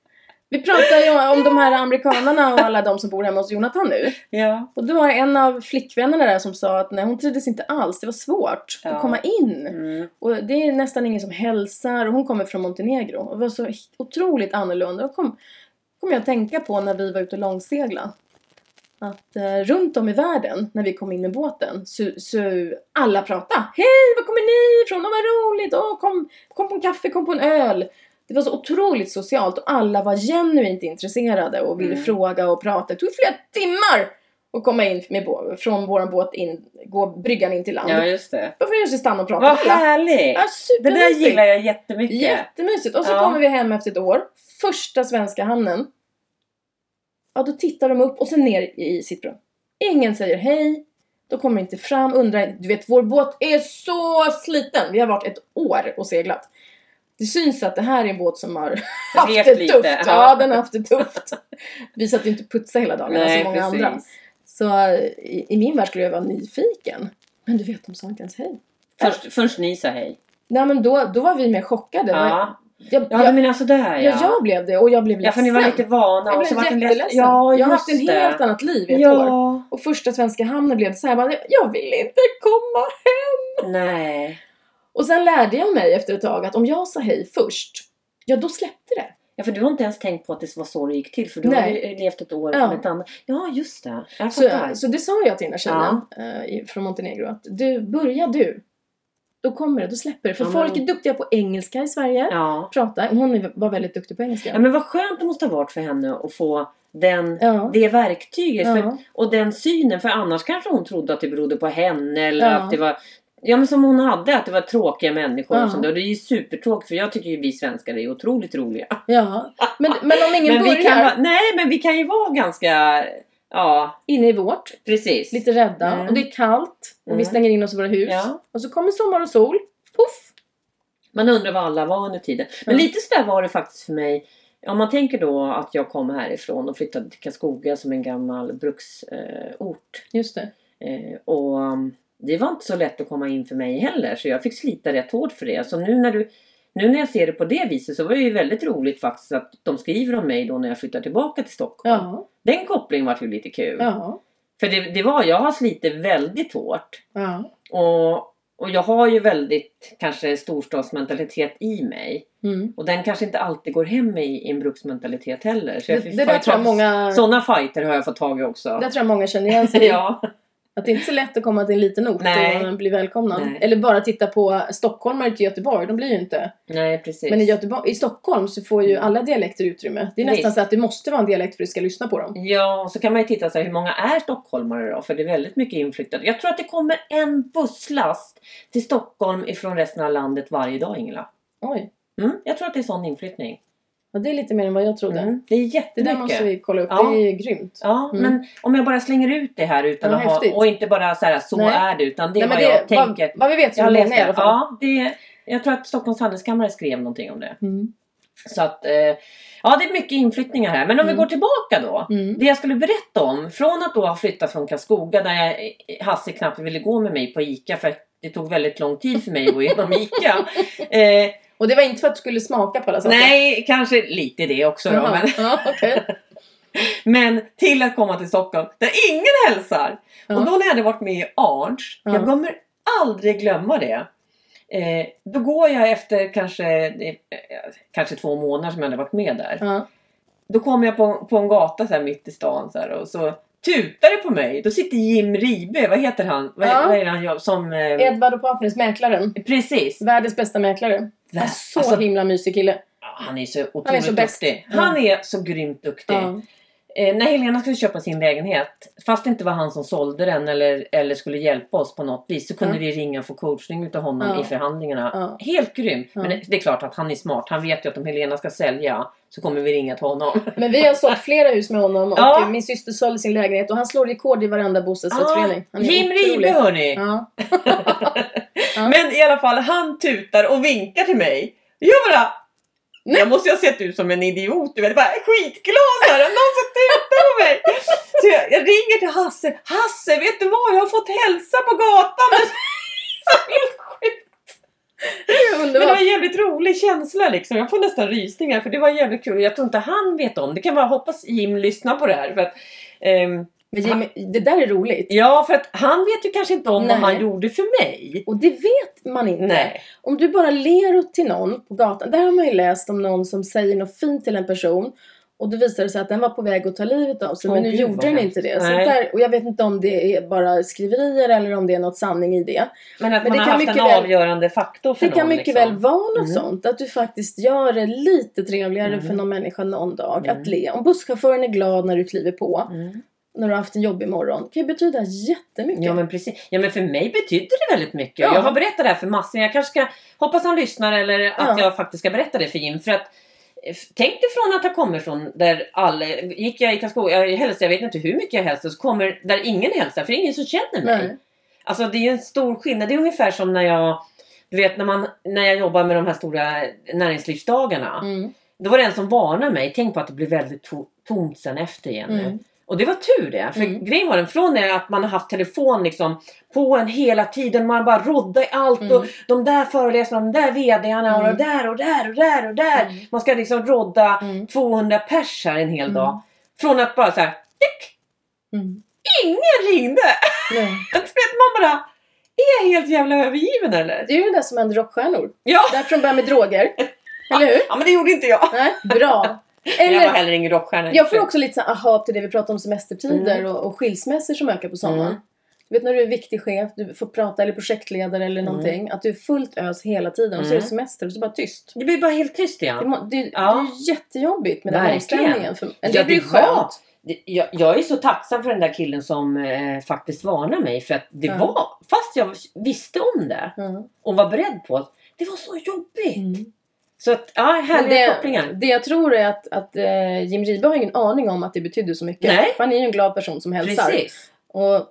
Speaker 2: Vi pratar ju om de här amerikanarna och alla de som bor hemma hos Jonathan nu.
Speaker 1: Ja.
Speaker 2: Och då var en av flickvännerna där som sa att nej, hon trivdes inte alls. Det var svårt
Speaker 1: Ja.
Speaker 2: att komma in.
Speaker 1: Mm.
Speaker 2: Och det är nästan ingen som hälsar. Och hon kommer från Montenegro. Och var så otroligt annorlunda. Och kom, kom jag att tänka på när vi var ute och långsegla. Att eh, runt om i världen, när vi kom in med båten, så, så alla pratade. Hej, var kommer ni ifrån? Åh, vad roligt! Åh, kom, kom på en kaffe, kom på en öl. Det var så otroligt socialt och alla var genuint intresserade och ville
Speaker 1: Mm.
Speaker 2: fråga och prata. Det tog flera timmar att komma in med bå- från vår båt in, gå bryggan in till land.
Speaker 1: ja, just det.
Speaker 2: Då får jag just stanna och prata
Speaker 1: Vad
Speaker 2: med alla.
Speaker 1: härligt!
Speaker 2: Ja,
Speaker 1: Det där
Speaker 2: supermysigt.
Speaker 1: gillar jag jättemycket.
Speaker 2: Jättemysigt! Och så
Speaker 1: Ja.
Speaker 2: kommer vi hem efter ett år. Första svenska hamnen. Ja, då tittar de upp och sen ner i sitt rum. Ingen säger hej. De kommer inte fram, undrar Du vet, vår båt är så sliten. Vi har varit ett år och seglat. Det syns att det här är en båt som har haft
Speaker 1: Levt
Speaker 2: det
Speaker 1: lite,
Speaker 2: tufft.
Speaker 1: ja.
Speaker 2: Ja, den har haft det tufft. Vi satt ju inte och putsade hela dagarna
Speaker 1: Nej,
Speaker 2: som många
Speaker 1: precis.
Speaker 2: andra. Så eh, i, i min värld skulle jag vara nyfiken. Men du vet, de sa inte ens hej.
Speaker 1: Först, först ni sa hej.
Speaker 2: Nej, men då, då var vi mer chockade.
Speaker 1: Ja,
Speaker 2: Jag,
Speaker 1: ja,
Speaker 2: jag,
Speaker 1: du menar sådär
Speaker 2: Ja, jag blev det och jag blev
Speaker 1: Ja, för ni var lite vana.
Speaker 2: jag
Speaker 1: och så
Speaker 2: blev
Speaker 1: var ni
Speaker 2: jätteledsen.
Speaker 1: ledsen. Ja,
Speaker 2: jag
Speaker 1: just
Speaker 2: har haft en
Speaker 1: det.
Speaker 2: helt annat liv i ett år.
Speaker 1: Ja,
Speaker 2: Och första svenska hamnen blev det så här, bara, jag vill inte komma hem.
Speaker 1: nej.
Speaker 2: Och sen lärde jag mig efter ett tag att om jag sa hej först, ja då släppte det.
Speaker 1: Ja, för du har inte ens tänkt på att det var så det gick till. För du har
Speaker 2: Nej.
Speaker 1: ju levt ett år
Speaker 2: Ja.
Speaker 1: med ett annat. Ja, just det. Jag fattar.
Speaker 2: Så, så det sa jag till den här tjejen eh, i- från Montenegro att du, börja du. Då kommer det, då släpper det. För
Speaker 1: Ja, men-
Speaker 2: folk är duktiga på engelska i Sverige.
Speaker 1: Ja.
Speaker 2: Pratar, och hon är- var väldigt duktig på engelska.
Speaker 1: ja, men vad skönt det måste ha varit för henne att få den,
Speaker 2: ja.
Speaker 1: det verktyget för,
Speaker 2: ja.
Speaker 1: och den synen. För annars kanske hon trodde att det berodde på henne eller
Speaker 2: Ja.
Speaker 1: att det var Ja men som hon hade, att det var tråkiga människor
Speaker 2: Ja.
Speaker 1: och sånt där. Och det är ju supertråkigt för jag tycker ju vi svenskar är otroligt roliga.
Speaker 2: ja. Men, men om ingen
Speaker 1: Men vi
Speaker 2: börjar
Speaker 1: kan vara, nej men vi kan ju vara ganska, ja
Speaker 2: inne i vårt,
Speaker 1: precis.
Speaker 2: lite rädda
Speaker 1: Mm.
Speaker 2: och det är kallt och vi
Speaker 1: Mm.
Speaker 2: stänger in oss i våra hus.
Speaker 1: Ja.
Speaker 2: Och så kommer sommar och sol. Puff!
Speaker 1: Man undrar vad alla var under tiden. Men
Speaker 2: Mm.
Speaker 1: lite sådär var det faktiskt för mig. Om man tänker då att jag kom härifrån och flyttade till Karlskoga som en gammal bruksort.
Speaker 2: Just det.
Speaker 1: Eh, och um, det var inte så lätt att komma in för mig heller så jag fick slita rätt hårt för det. Så nu när, du, nu när jag ser det på det viset så var det ju väldigt roligt faktiskt att de skriver om mig då när jag flyttar tillbaka till Stockholm.
Speaker 2: Ja.
Speaker 1: Den kopplingen var ju lite kul.
Speaker 2: Ja.
Speaker 1: För det, det var, jag har slitit väldigt hårt.
Speaker 2: Ja.
Speaker 1: Och, och jag har ju väldigt kanske storstadsmentalitet i mig.
Speaker 2: Mm.
Speaker 1: Och den kanske inte alltid går hem i, i en bruksmentalitet heller. Så
Speaker 2: Det,
Speaker 1: jag
Speaker 2: det där tror jag många...
Speaker 1: Sådana fighter har jag fått tag i också.
Speaker 2: Där tror jag många känner igen sig i.
Speaker 1: ja.
Speaker 2: Att det är inte så lätt att komma till en liten ort
Speaker 1: Nej.
Speaker 2: och bli välkomnad.
Speaker 1: Nej.
Speaker 2: Eller bara titta på stockholmare till Göteborg, de blir ju inte.
Speaker 1: Nej, precis.
Speaker 2: Men i, Göteborg, i Stockholm så får ju
Speaker 1: Mm.
Speaker 2: alla dialekter utrymme. Det är nästan
Speaker 1: Visst.
Speaker 2: så att det måste vara en dialekt för att du ska lyssna på dem.
Speaker 1: Ja, och så kan man ju titta så här, hur många är stockholmare då? För det är väldigt mycket inflyttade. Jag tror att det kommer en busslast till Stockholm ifrån resten av landet varje dag, Ingela.
Speaker 2: Oj.
Speaker 1: Mm, jag tror att det är sån inflyttning.
Speaker 2: Ja, det är lite mer än vad jag trodde.
Speaker 1: Mm, det är
Speaker 2: Det där
Speaker 1: jättemycket.
Speaker 2: måste vi kolla upp.
Speaker 1: Ja.
Speaker 2: Det är ju grymt.
Speaker 1: Ja,
Speaker 2: Mm.
Speaker 1: men om jag bara slänger ut det här utan
Speaker 2: Ja,
Speaker 1: att ha,
Speaker 2: häftigt.
Speaker 1: och inte bara så här, så
Speaker 2: Nej.
Speaker 1: är det, utan det är
Speaker 2: Nej, men
Speaker 1: vad jag
Speaker 2: det,
Speaker 1: tänker.
Speaker 2: vad, vad vi vet så
Speaker 1: jag har
Speaker 2: många
Speaker 1: läst
Speaker 2: i
Speaker 1: det.
Speaker 2: alla fall.
Speaker 1: Ja, det, jag tror att Stockholms handelskammare skrev någonting om det.
Speaker 2: Mm.
Speaker 1: Så att, eh, ja det är mycket inflyttningar här. Men om
Speaker 2: Mm.
Speaker 1: vi går tillbaka då.
Speaker 2: Mm.
Speaker 1: Det jag skulle berätta om, från att då ha flyttat från Karlskoga där jag, eh, Hasse knappt ville gå med mig på ICA för det tog väldigt lång tid för mig att gå igenom ICA. Eh,
Speaker 2: Och det var inte för att du skulle smaka på alla saker?
Speaker 1: nej, kanske lite det också då.
Speaker 2: Jaha.
Speaker 1: Men,
Speaker 2: Ja, okej.
Speaker 1: men till att komma till Stockholm där ingen hälsar.
Speaker 2: Ja.
Speaker 1: Och då när jag hade varit med i Arns,
Speaker 2: Ja.
Speaker 1: jag kommer aldrig glömma det. Eh, då går jag efter kanske, eh, kanske två månader som jag hade varit med där.
Speaker 2: Ja.
Speaker 1: Då kommer jag på, på en gata så här mitt i stan så här, och så tutar det på mig. Då sitter Jim Ribe, vad heter han? Vad,
Speaker 2: Ja.
Speaker 1: vad är det han gör? Som... Eh,
Speaker 2: Edvard och Papris, mäklaren.
Speaker 1: precis!
Speaker 2: Världens bästa mäklare.
Speaker 1: Där.
Speaker 2: Så
Speaker 1: Alltså,
Speaker 2: himla mysig kille.
Speaker 1: han är så otroligt
Speaker 2: Han är så bäst.
Speaker 1: duktig.
Speaker 2: Ja.
Speaker 1: Han är så grymt duktig.
Speaker 2: Ja.
Speaker 1: Eh, när Helena skulle köpa sin lägenhet, fast det inte var han som sålde den eller, eller skulle hjälpa oss på något vis, så kunde
Speaker 2: Ja.
Speaker 1: vi ringa och få coachning utav honom
Speaker 2: Mm. Ja.
Speaker 1: i förhandlingarna.
Speaker 2: Ja.
Speaker 1: Helt grym!
Speaker 2: Ja.
Speaker 1: Men det- det är klart att han är smart. Han vet ju att om Helena ska sälja så kommer vi ringa till honom.
Speaker 2: Men vi har sålt flera hus med honom och
Speaker 1: Ja.
Speaker 2: eh, min syster sålde sin lägenhet och han slår rekord i varenda bostadsrättsförening.
Speaker 1: Ah,
Speaker 2: Han är
Speaker 1: Jim
Speaker 2: otrolig.
Speaker 1: Ribe hörni!
Speaker 2: Ja. Ja.
Speaker 1: Men i alla fall, han tutar och vinkar till mig. Jag bara...
Speaker 2: Nej.
Speaker 1: Jag måste ju ha sett ut som en idiot. Du vet, bara skitglad så här. Någon som tutar på mig. Så jag, jag ringer till Hasse. Hasse, vet du vad? Jag har fått hälsa på gatan. Så helt sjukt. Men det var
Speaker 2: Underbart.
Speaker 1: en jävligt rolig känsla liksom. Jag får nästan rysningar för det var jävligt kul. Jag tror inte han vet om det. kan vara, hoppas Jim lyssnar på det här. För att, ehm,
Speaker 2: Men Jimmy, det där är roligt.
Speaker 1: ja, för att han vet ju kanske inte om
Speaker 2: Nej.
Speaker 1: vad han gjorde för mig.
Speaker 2: Och det vet man inte.
Speaker 1: Nej.
Speaker 2: Om du bara ler åt till någon på gatan. Där har man ju läst om någon som säger något fint till en person. Och då visar det sig att den var på väg att ta livet av sig.
Speaker 1: Åh,
Speaker 2: men nu
Speaker 1: gud, vad
Speaker 2: gjorde den
Speaker 1: hemskt.
Speaker 2: inte det. Så
Speaker 1: Nej.
Speaker 2: där, och jag vet inte om det är bara skriverier eller om det är något sanning i det.
Speaker 1: Men att man
Speaker 2: Men det
Speaker 1: har
Speaker 2: kan
Speaker 1: haft
Speaker 2: mycket
Speaker 1: en
Speaker 2: väl-
Speaker 1: avgörande faktor för
Speaker 2: Det kan
Speaker 1: någon.
Speaker 2: mycket
Speaker 1: liksom.
Speaker 2: väl vara något
Speaker 1: Mm.
Speaker 2: sånt. Att du faktiskt gör det lite trevligare
Speaker 1: Mm.
Speaker 2: för någon människa någon dag.
Speaker 1: Mm.
Speaker 2: Att le. Om busschauffören är glad när du kliver på.
Speaker 1: Mm.
Speaker 2: När du har haft en jobbig morgon. Det kan ju betyda jättemycket.
Speaker 1: Ja men precis. Ja men för mig betyder det väldigt mycket.
Speaker 2: Ja.
Speaker 1: Jag har berättat det här för massor. Jag kanske ska hoppas han lyssnar eller att
Speaker 2: Ja.
Speaker 1: jag faktiskt ska berätta det för Jim. För att eh, f- Tänk dig från att jag kommer från där alla, gick jag i Karlskoga, jag hälsade, jag vet inte hur mycket jag hälsade, så kommer där ingen hälsar för det är ingen som känner mig.
Speaker 2: Nej.
Speaker 1: Alltså det är ju en stor skillnad. Det är ungefär som när jag, du vet när, man, när jag jobbar med de här stora näringslivsdagarna.
Speaker 2: Mm.
Speaker 1: Då var det en som varnade mig, tänk på att det blir väldigt to- tomt sen efter igen nu.
Speaker 2: Mm.
Speaker 1: Och det var tur det. För
Speaker 2: Mm.
Speaker 1: grejen var den, från det att man har haft telefon liksom på en hela tiden. Man bara roddar i allt.
Speaker 2: Mm.
Speaker 1: Och de där föreläsarna, de där VDarna och
Speaker 2: Mm.
Speaker 1: de där och där och där och där.
Speaker 2: Mm.
Speaker 1: Man ska liksom rodda
Speaker 2: Mm.
Speaker 1: 200 pers här en hel
Speaker 2: Mm.
Speaker 1: dag. Från att bara så här,
Speaker 2: Mm.
Speaker 1: ingen ringde.
Speaker 2: Nej.
Speaker 1: Du vet, man bara, är jag helt jävla övergiven eller?
Speaker 2: Det är ju det där som händer rockstjärnor.
Speaker 1: Ja.
Speaker 2: Därför de börjar med droger. Eller hur?
Speaker 1: Ja men det gjorde inte jag.
Speaker 2: Nej, bra.
Speaker 1: Men jag var
Speaker 2: Eller,
Speaker 1: heller ingen rockstjärna.
Speaker 2: jag får också lite så här aha till det vi pratade om semestertider
Speaker 1: Mm.
Speaker 2: och, och skilsmässor som ökar på sommaren.
Speaker 1: Mm.
Speaker 2: Du vet när du är viktig chef, du får prata eller projektledare eller
Speaker 1: Mm.
Speaker 2: någonting. Att du är fullt ös hela tiden och så är
Speaker 1: Mm.
Speaker 2: det semester och så är det bara tyst.
Speaker 1: Det blir bara helt tyst igen.
Speaker 2: Det, må, det, det är
Speaker 1: Ja.
Speaker 2: ju jättejobbigt med den här
Speaker 1: Verkligen.
Speaker 2: omställningen. För, eller
Speaker 1: Ja,
Speaker 2: det blir ju
Speaker 1: det var-
Speaker 2: skönt.
Speaker 1: Det- jag, jag är så tacksam för den där killen som eh, faktiskt varnade mig för att det
Speaker 2: Ja.
Speaker 1: var, fast jag visste om det
Speaker 2: Mm.
Speaker 1: och var beredd på det, det var så jobbigt.
Speaker 2: Mm.
Speaker 1: Så att, ja,
Speaker 2: Men
Speaker 1: härliga
Speaker 2: Det,
Speaker 1: kopplingar.
Speaker 2: det jag tror är att, att eh, Jim Ribe har ingen aning om att det betydde så mycket.
Speaker 1: Nej.
Speaker 2: För han är ju en glad person som hälsar.
Speaker 1: Precis.
Speaker 2: Och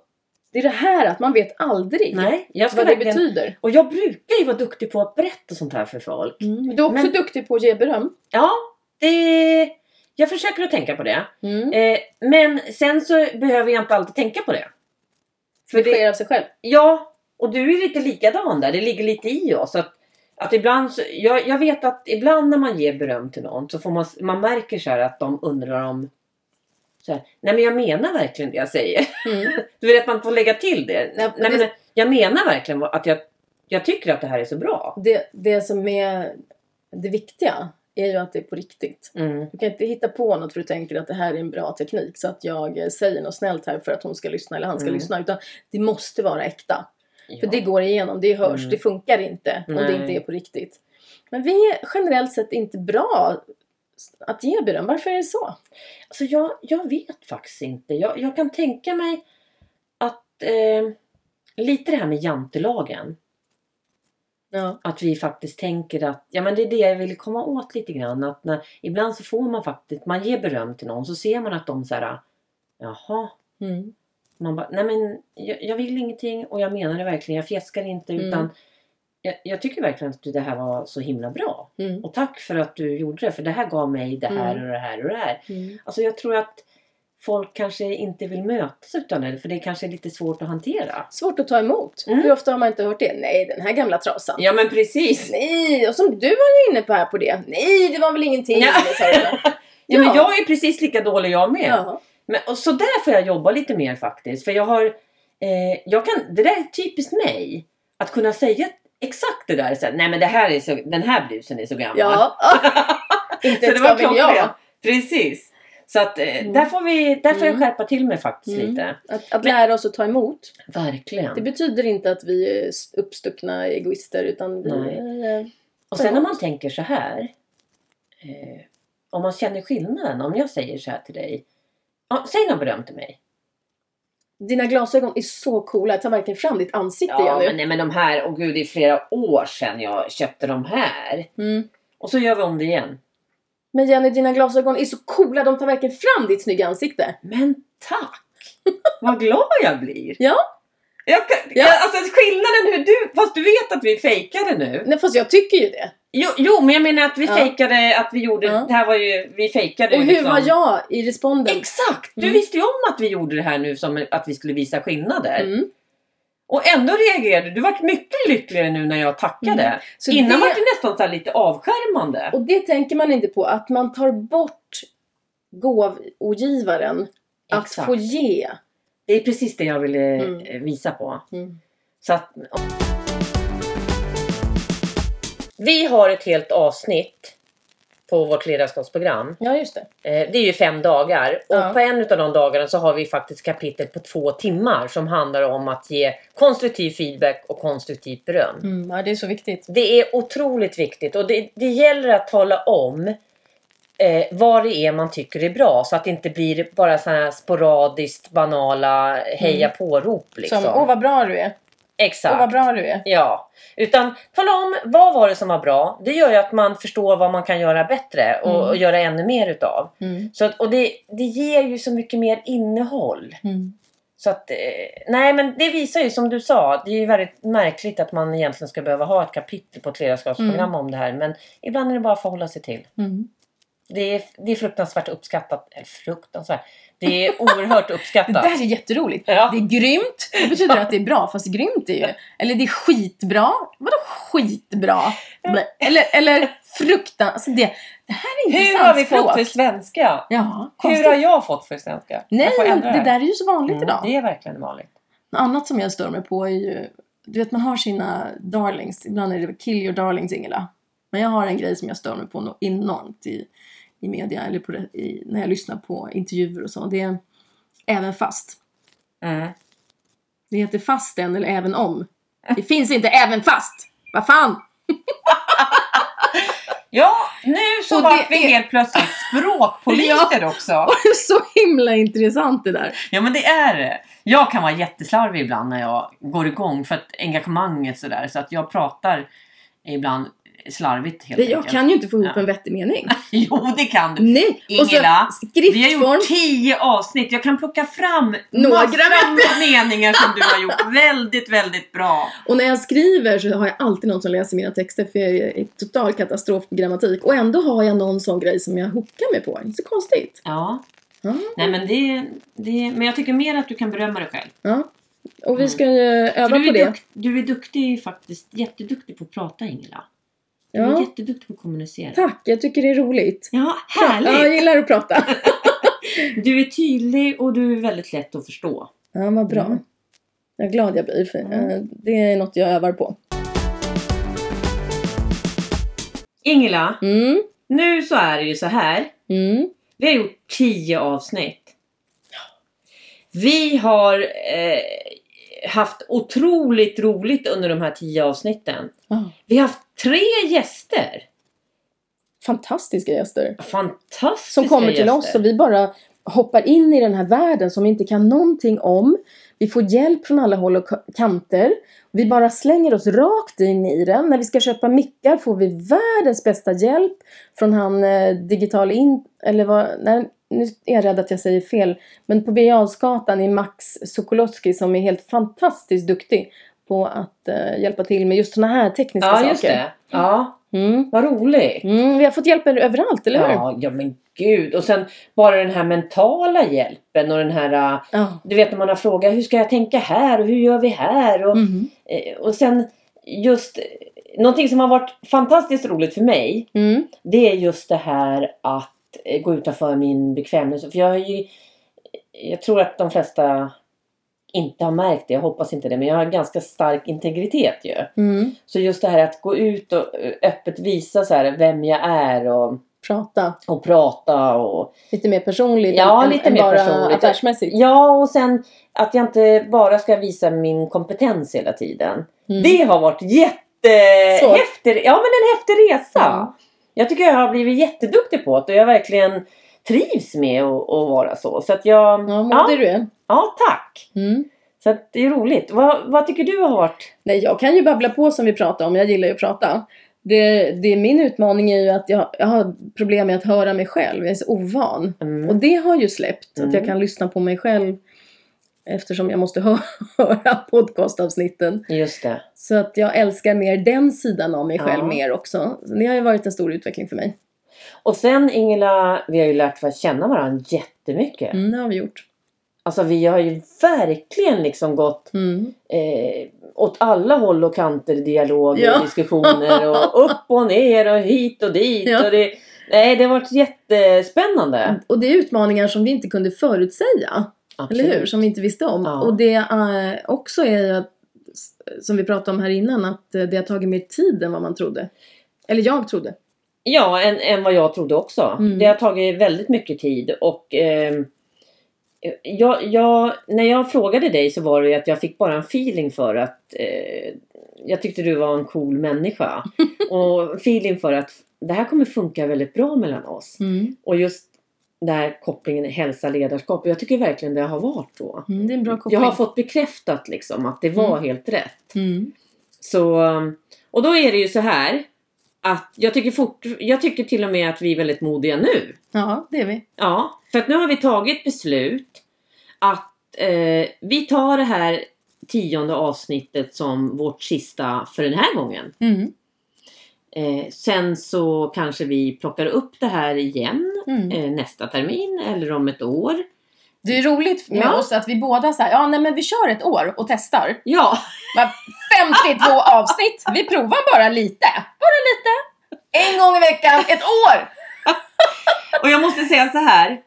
Speaker 2: det är det här att man vet aldrig
Speaker 1: Nej, jag ska
Speaker 2: vad det
Speaker 1: verkligen...
Speaker 2: betyder.
Speaker 1: Och jag brukar ju vara duktig på att berätta sånt här för folk.
Speaker 2: Mm. Du är också
Speaker 1: Men-
Speaker 2: duktig på att ge beröm.
Speaker 1: Ja, det... Jag försöker att tänka på det.
Speaker 2: Mm.
Speaker 1: Eh, men sen så behöver jag inte alltid tänka på det.
Speaker 2: För det
Speaker 1: det-
Speaker 2: sker av sig själv.
Speaker 1: Ja, och du är lite likadan där. Det ligger lite i oss. Att, att ibland så, jag, jag vet att ibland när man ger beröm till någon så får man, man märker så här att de undrar om... Så här, Nej men jag menar verkligen det jag säger.
Speaker 2: Mm.
Speaker 1: Du vet att man får lägga till det.
Speaker 2: Ja,
Speaker 1: Nej,
Speaker 2: det-
Speaker 1: men, jag menar verkligen att jag, jag tycker att det här är så bra.
Speaker 2: Det, det som är det viktiga är ju att det är på riktigt.
Speaker 1: Mm.
Speaker 2: Du kan inte hitta på något för att du tänker att det här är en bra teknik så att jag eh, säger något snällt här för att hon ska lyssna eller han ska
Speaker 1: Mm.
Speaker 2: lyssna. Utan det måste vara äkta.
Speaker 1: Ja.
Speaker 2: För det går igenom, det hörs,
Speaker 1: Mm.
Speaker 2: det funkar inte om det
Speaker 1: Nej.
Speaker 2: inte är på riktigt. Men vi är generellt sett inte bra att ge beröm. Varför är det så?
Speaker 1: Alltså jag, jag vet faktiskt inte. Jag, jag kan tänka mig att eh, lite det här med jantelagen.
Speaker 2: Ja.
Speaker 1: Att vi faktiskt tänker att, ja men det är det jag vill komma åt lite grann. Att när, ibland så får man faktiskt, man ger beröm till någon så ser man att de så här, jaha.
Speaker 2: Mm.
Speaker 1: Man bara, nej men jag, jag vill ingenting och jag menar det verkligen, jag fjäskar inte
Speaker 2: Mm.
Speaker 1: utan jag, jag tycker verkligen att det här var så himla bra.
Speaker 2: Mm.
Speaker 1: Och tack för att du gjorde det för det här gav mig det här
Speaker 2: Mm.
Speaker 1: och det här och det här.
Speaker 2: Mm.
Speaker 1: Alltså jag tror att folk kanske inte vill mötas utan det för det kanske är lite svårt att hantera.
Speaker 2: Svårt att ta emot.
Speaker 1: Mm.
Speaker 2: Hur ofta har man inte hört det? Nej, den här gamla trasan.
Speaker 1: Ja men precis!
Speaker 2: Nej, och som du var ju inne på här på det. Nej, det var väl ingenting.
Speaker 1: Ja.
Speaker 2: sa jag.
Speaker 1: Ja, men
Speaker 2: Ja.
Speaker 1: jag är precis lika dålig jag med.
Speaker 2: Ja.
Speaker 1: Men, och så där får jag jobba lite mer faktiskt. För jag har... Eh, jag kan, det där är typiskt mig. Att kunna säga exakt det där. Så här, Nej men det här är så, den här blusen är så gammal.
Speaker 2: Ja. Inte
Speaker 1: så det
Speaker 2: ska
Speaker 1: var
Speaker 2: väl jag.
Speaker 1: klockrent. Precis. Så att eh,
Speaker 2: Mm.
Speaker 1: där, får vi, där får jag
Speaker 2: Mm.
Speaker 1: skärpa till mig faktiskt
Speaker 2: Mm.
Speaker 1: lite.
Speaker 2: Att, att lära oss att ta emot.
Speaker 1: Verkligen.
Speaker 2: Det betyder inte att vi är s- uppstuckna egoister utan vi... eh,
Speaker 1: Nej. Och sen när man tänker så här. Eh, om man känner skillnaden. Om jag säger så här till dig. Ja, säg något beröm till mig.
Speaker 2: Dina glasögon är så coola. Ta verkligen fram ditt ansikte
Speaker 1: Ja, men,
Speaker 2: igen
Speaker 1: nej, men de här. Åh gud, det är flera år sedan jag köpte de här.
Speaker 2: nu. Mm.
Speaker 1: Och så gör vi om det igen.
Speaker 2: Men Jenny, dina glasögon är så coola. De tar verkligen fram ditt snygga ansikte.
Speaker 1: Men tack! Vad glad jag blir!
Speaker 2: Ja.
Speaker 1: Jag, kan-
Speaker 2: Ja.
Speaker 1: jag- Alltså skillnaden hur du... Fast du vet att vi fejkade nu.
Speaker 2: Nej, fast jag tycker ju det.
Speaker 1: Jo, jo men jag menar att vi
Speaker 2: Ja.
Speaker 1: fejkade att vi gjorde...
Speaker 2: Ja.
Speaker 1: Det här var ju... Vi fejkade
Speaker 2: Och
Speaker 1: ju
Speaker 2: hur
Speaker 1: liksom-
Speaker 2: var jag i responden?
Speaker 1: Exakt! Du
Speaker 2: Mm.
Speaker 1: visste ju om att vi gjorde det här nu som att vi skulle visa skillnader.
Speaker 2: Mm.
Speaker 1: Och ändå reagerade du. Du vart mycket lyckligare nu när jag tackade.
Speaker 2: Mm. Så
Speaker 1: Innan
Speaker 2: det,
Speaker 1: var det nästan så här lite avskärmande.
Speaker 2: Och det tänker man inte på. Att man tar bort gåvogivaren. Att
Speaker 1: Exakt.
Speaker 2: få ge.
Speaker 1: Det är precis det jag ville
Speaker 2: Mm.
Speaker 1: eh, visa på.
Speaker 2: Mm.
Speaker 1: Så att... Vi har ett helt avsnitt på vårt ledarskapsprogram.
Speaker 2: Ja, just det.
Speaker 1: Eh, Det är ju fem dagar och
Speaker 2: Ja.
Speaker 1: på en av de dagarna så har vi faktiskt kapitel på två timmar som handlar om att ge konstruktiv feedback och konstruktivt beröm.
Speaker 2: Mm, ja, det är så viktigt.
Speaker 1: Det är otroligt viktigt och det, det gäller att tala om eh, vad det är man tycker är bra så att det inte blir bara såna här sporadiskt banala heja på-rop. Liksom.
Speaker 2: Mm. Som, åh vad bra du är. Åh vad
Speaker 1: Exakt.
Speaker 2: bra du är.
Speaker 1: Ja, utan tala om vad var det som var bra. Det gör ju att man förstår vad man kan göra bättre och,
Speaker 2: Mm.
Speaker 1: och göra ännu mer utav.
Speaker 2: Mm.
Speaker 1: Så att, och det, det ger ju så mycket mer innehåll.
Speaker 2: mm,
Speaker 1: Så att, eh, nej men det visar ju som du sa, det är ju väldigt märkligt att man egentligen ska behöva ha ett kapitel på ett ledarskapsprogram
Speaker 2: Mm.
Speaker 1: om det här. Men ibland är det bara för att hålla sig till. Det är, det är fruktansvärt uppskattat. Eller fruktansvärt. Det är oerhört
Speaker 2: Det
Speaker 1: uppskattat.
Speaker 2: där är jätteroligt.
Speaker 1: Ja.
Speaker 2: Det är grymt. Det betyder att det är bra, fast grymt är ju... Eller det är skitbra. Vadå skitbra? Blä. Eller, eller fruktan... Alltså det, det här är
Speaker 1: Hur
Speaker 2: intressant
Speaker 1: har vi
Speaker 2: språk.
Speaker 1: fått för svenska?
Speaker 2: Ja,
Speaker 1: Hur
Speaker 2: konstigt.
Speaker 1: har jag fått för svenska?
Speaker 2: Nej,
Speaker 1: jag får
Speaker 2: men
Speaker 1: ändra
Speaker 2: det där är ju så vanligt
Speaker 1: Mm,
Speaker 2: idag.
Speaker 1: det är verkligen vanligt.
Speaker 2: Något annat som jag stör mig på är ju... Du vet, man har sina darlings. Ibland är det kill your darlings, Ingela. Men jag har en grej som jag stör mig på nå- enormt i, i media eller på, det- i, när jag lyssnar på intervjuer och så. Det är även fast.
Speaker 1: Mm.
Speaker 2: Det heter fast än eller även om. Det finns inte även fast! Vad fan!
Speaker 1: Ja, nu så
Speaker 2: Och
Speaker 1: vart
Speaker 2: det
Speaker 1: vi
Speaker 2: är-
Speaker 1: helt plötsligt språkpoliser också.
Speaker 2: Och det är så himla intressant det där.
Speaker 1: Ja men det är det. Jag kan vara jätteslarvig ibland när jag går igång för att engagemanget sådär så att jag pratar ibland slarvigt helt
Speaker 2: Det, jag
Speaker 1: enkelt.
Speaker 2: kan ju inte få ihop
Speaker 1: Ja.
Speaker 2: en vettig mening.
Speaker 1: Jo det kan du.
Speaker 2: Nej! Och så
Speaker 1: Ingela, Vi har
Speaker 2: skriftform.
Speaker 1: gjort tio avsnitt. Jag kan plocka fram
Speaker 2: Några
Speaker 1: massor med meningar som du har gjort väldigt, väldigt bra.
Speaker 2: Och när jag skriver så har jag alltid någon som läser mina texter för jag är en total katastrof på grammatik. Och ändå har jag någon sån grej som jag hookar mig på. Det är så konstigt.
Speaker 1: Ja,
Speaker 2: Ja.
Speaker 1: nej men det, det Men jag tycker mer att du kan berömma dig själv.
Speaker 2: ja. Och vi ska ju
Speaker 1: För
Speaker 2: öva
Speaker 1: du,
Speaker 2: på
Speaker 1: är
Speaker 2: det.
Speaker 1: Dukt, du är duktig faktiskt. Jätteduktig på att prata Ingela. Du är
Speaker 2: Ja.
Speaker 1: jätteduktig på att kommunicera.
Speaker 2: Tack, jag tycker det är roligt.
Speaker 1: Ja,
Speaker 2: Ja,
Speaker 1: härligt!
Speaker 2: jag gillar att prata.
Speaker 1: Du är tydlig och du är väldigt lätt att förstå.
Speaker 2: Ja, vad bra.
Speaker 1: Mm.
Speaker 2: Jag är glad jag blir. För,
Speaker 1: Mm.
Speaker 2: eh, det är något jag övar på.
Speaker 1: Ingela,
Speaker 2: Mm.
Speaker 1: nu så är det ju så här.
Speaker 2: Mm.
Speaker 1: Vi har gjort 10 avsnitt. Vi har eh, haft otroligt roligt under de här 10 avsnitten.
Speaker 2: Ah,
Speaker 1: Vi har haft tre gäster.
Speaker 2: fantastiska gäster.
Speaker 1: Fantastiska
Speaker 2: Som kommer till
Speaker 1: gäster.
Speaker 2: oss och vi bara hoppar in i den här världen som vi inte kan någonting om. Vi får hjälp från alla håll och k- kanter. Vi bara slänger oss rakt in i den. När vi ska köpa mickar får vi världens bästa hjälp från han eh, digital in... Eller vad... Nej, nu är jag rädd att jag säger fel. Men på Birger är Max Sokolowski som är helt fantastiskt duktig på att eh, hjälpa till med just såna här tekniska
Speaker 1: Ja,
Speaker 2: saker.
Speaker 1: just det. Ja,
Speaker 2: Mm.
Speaker 1: vad roligt.
Speaker 2: Mm, vi har fått hjälp överallt, eller hur?
Speaker 1: Ja, ja, men gud. Och sen bara den här mentala hjälpen och den här... eh,
Speaker 2: Ja.
Speaker 1: Du vet när man har frågat hur ska jag tänka här och hur gör vi här? Och,
Speaker 2: Mhm.
Speaker 1: Eh, Och sen just eh, någonting som har varit fantastiskt roligt för mig.
Speaker 2: Mm.
Speaker 1: Det är just det här att eh, gå utanför min bekvämlighet. För jag är ju, jag tror att de flesta inte har märkt det, jag hoppas inte det, men jag har ganska stark integritet ju.
Speaker 2: Mm.
Speaker 1: Så just det här att gå ut och eh, öppet visa så här vem jag är och,
Speaker 2: Prata
Speaker 1: och prata och
Speaker 2: lite mer personligt
Speaker 1: Ja,
Speaker 2: än,
Speaker 1: lite
Speaker 2: än
Speaker 1: mer
Speaker 2: bara
Speaker 1: personligt.
Speaker 2: affärsmässigt.
Speaker 1: Ja, och sen att jag inte bara ska visa min kompetens hela tiden.
Speaker 2: Mm.
Speaker 1: Det har varit jättehäftig, ja men en häftig resa.
Speaker 2: Mm.
Speaker 1: Jag tycker jag har blivit jätteduktig på det och jag verkligen trivs med att, att vara så. Så att jag,
Speaker 2: Ja,
Speaker 1: ja,
Speaker 2: modig du är.
Speaker 1: ja tack.
Speaker 2: Mm.
Speaker 1: Så att det är roligt. Vad, vad tycker du har varit?
Speaker 2: Nej, jag kan ju babbla på som vi pratade om. Jag gillar ju att prata. Det, det, min utmaning är ju att jag, jag har problem med att höra mig själv. Jag är så ovan.
Speaker 1: Mm.
Speaker 2: Och det har ju släppt. Att
Speaker 1: Mm.
Speaker 2: jag kan lyssna på mig själv. Eftersom jag måste hö- höra podcastavsnitten.
Speaker 1: Just det.
Speaker 2: Så att jag älskar mer den sidan av mig
Speaker 1: Ja.
Speaker 2: själv mer också. Så Det har ju varit en stor utveckling för mig.
Speaker 1: Och sen Ingela, vi har ju lärt känna varandra jättemycket.
Speaker 2: Mm, det har vi gjort.
Speaker 1: Alltså vi har ju verkligen liksom gått
Speaker 2: Mm.
Speaker 1: eh, åt alla håll och kanter dialoger
Speaker 2: Ja.
Speaker 1: och diskussioner och upp och ner och hit och dit.
Speaker 2: Ja.
Speaker 1: Och det, nej, det har varit jättespännande.
Speaker 2: Och det är utmaningar som vi inte kunde förutsäga.
Speaker 1: Absolut.
Speaker 2: Eller hur? Som vi inte visste om.
Speaker 1: Ja.
Speaker 2: Och det eh, också är ju att, som vi pratade om här innan, att eh, det har tagit mer tid än vad man trodde. Eller jag trodde.
Speaker 1: Ja, än, än vad jag trodde också.
Speaker 2: Mm.
Speaker 1: Det har tagit väldigt mycket tid och ehm, jag, jag, när jag frågade dig så var det ju att jag fick bara en feeling för att eh, jag tyckte du var en cool människa. och feeling för att det här kommer funka väldigt bra mellan oss.
Speaker 2: Mm.
Speaker 1: Och just där kopplingen hälsa ledarskap. Och Jag tycker verkligen det har varit då.
Speaker 2: Mm, det är en bra
Speaker 1: Jag
Speaker 2: koppling.
Speaker 1: har fått bekräftat liksom att det var
Speaker 2: Mm.
Speaker 1: helt rätt.
Speaker 2: Mm.
Speaker 1: Så, och då är det ju så här att jag tycker, fort, jag tycker till och med att vi är väldigt modiga nu.
Speaker 2: Ja, det är vi.
Speaker 1: Ja, för att nu har vi tagit beslut att eh, vi tar det här tionde avsnittet som vårt sista för den här gången.
Speaker 2: Mm.
Speaker 1: Eh, sen så kanske vi plockar upp det här igen
Speaker 2: Mm.
Speaker 1: eh, nästa termin eller om ett år.
Speaker 2: Det är roligt med
Speaker 1: Ja.
Speaker 2: oss att vi båda säger ja nej men vi kör ett år och testar.
Speaker 1: Ja,
Speaker 2: Va, 52 avsnitt, vi provar bara lite. Bara lite. En gång i veckan, ett år!
Speaker 1: Och jag måste säga så här.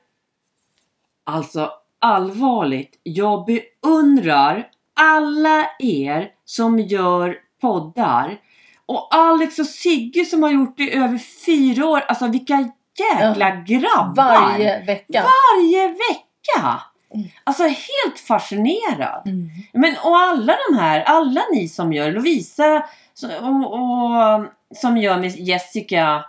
Speaker 1: Alltså allvarligt, jag beundrar alla er som gör poddar. Och Alex och Sigge som har gjort det i över fyra år. Alltså vilka jäkla grabbar!
Speaker 2: Varje vecka.
Speaker 1: Varje vecka! Alltså helt fascinerad.
Speaker 2: Mm.
Speaker 1: Men och alla de här, alla ni som gör, Lovisa så- och, och som gör med Jessica.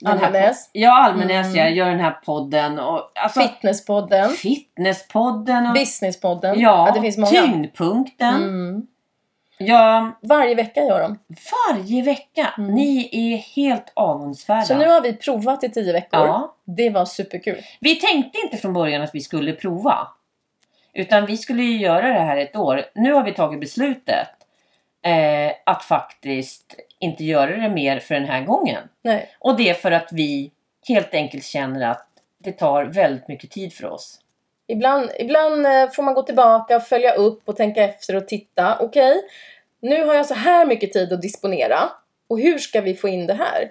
Speaker 1: den här
Speaker 2: Almenäs.
Speaker 1: Ja, Almenäs
Speaker 2: Mm.
Speaker 1: ja, gör den här podden och alltså,
Speaker 2: Fitnesspodden.
Speaker 1: fitnesspodden och
Speaker 2: Businesspodden.
Speaker 1: ja,
Speaker 2: det finns många.
Speaker 1: tyngdpunkten.
Speaker 2: Mm.
Speaker 1: Ja,
Speaker 2: Varje vecka gör de.
Speaker 1: varje vecka.
Speaker 2: Mm.
Speaker 1: Ni är helt avundsvärda.
Speaker 2: Så nu har vi provat i tio veckor.
Speaker 1: ja.
Speaker 2: Det var superkul.
Speaker 1: Vi tänkte inte från början att vi skulle prova. Utan vi skulle ju göra det här ett år. Nu har vi tagit beslutet eh, att faktiskt inte göra det mer för den här gången.
Speaker 2: Nej.
Speaker 1: Och det är för att vi helt enkelt känner att det tar väldigt mycket tid för oss.
Speaker 2: Ibland, ibland eh, får man gå tillbaka och följa upp och tänka efter och titta. Okej, nu har jag så här mycket tid att disponera. Och hur ska vi få in det här?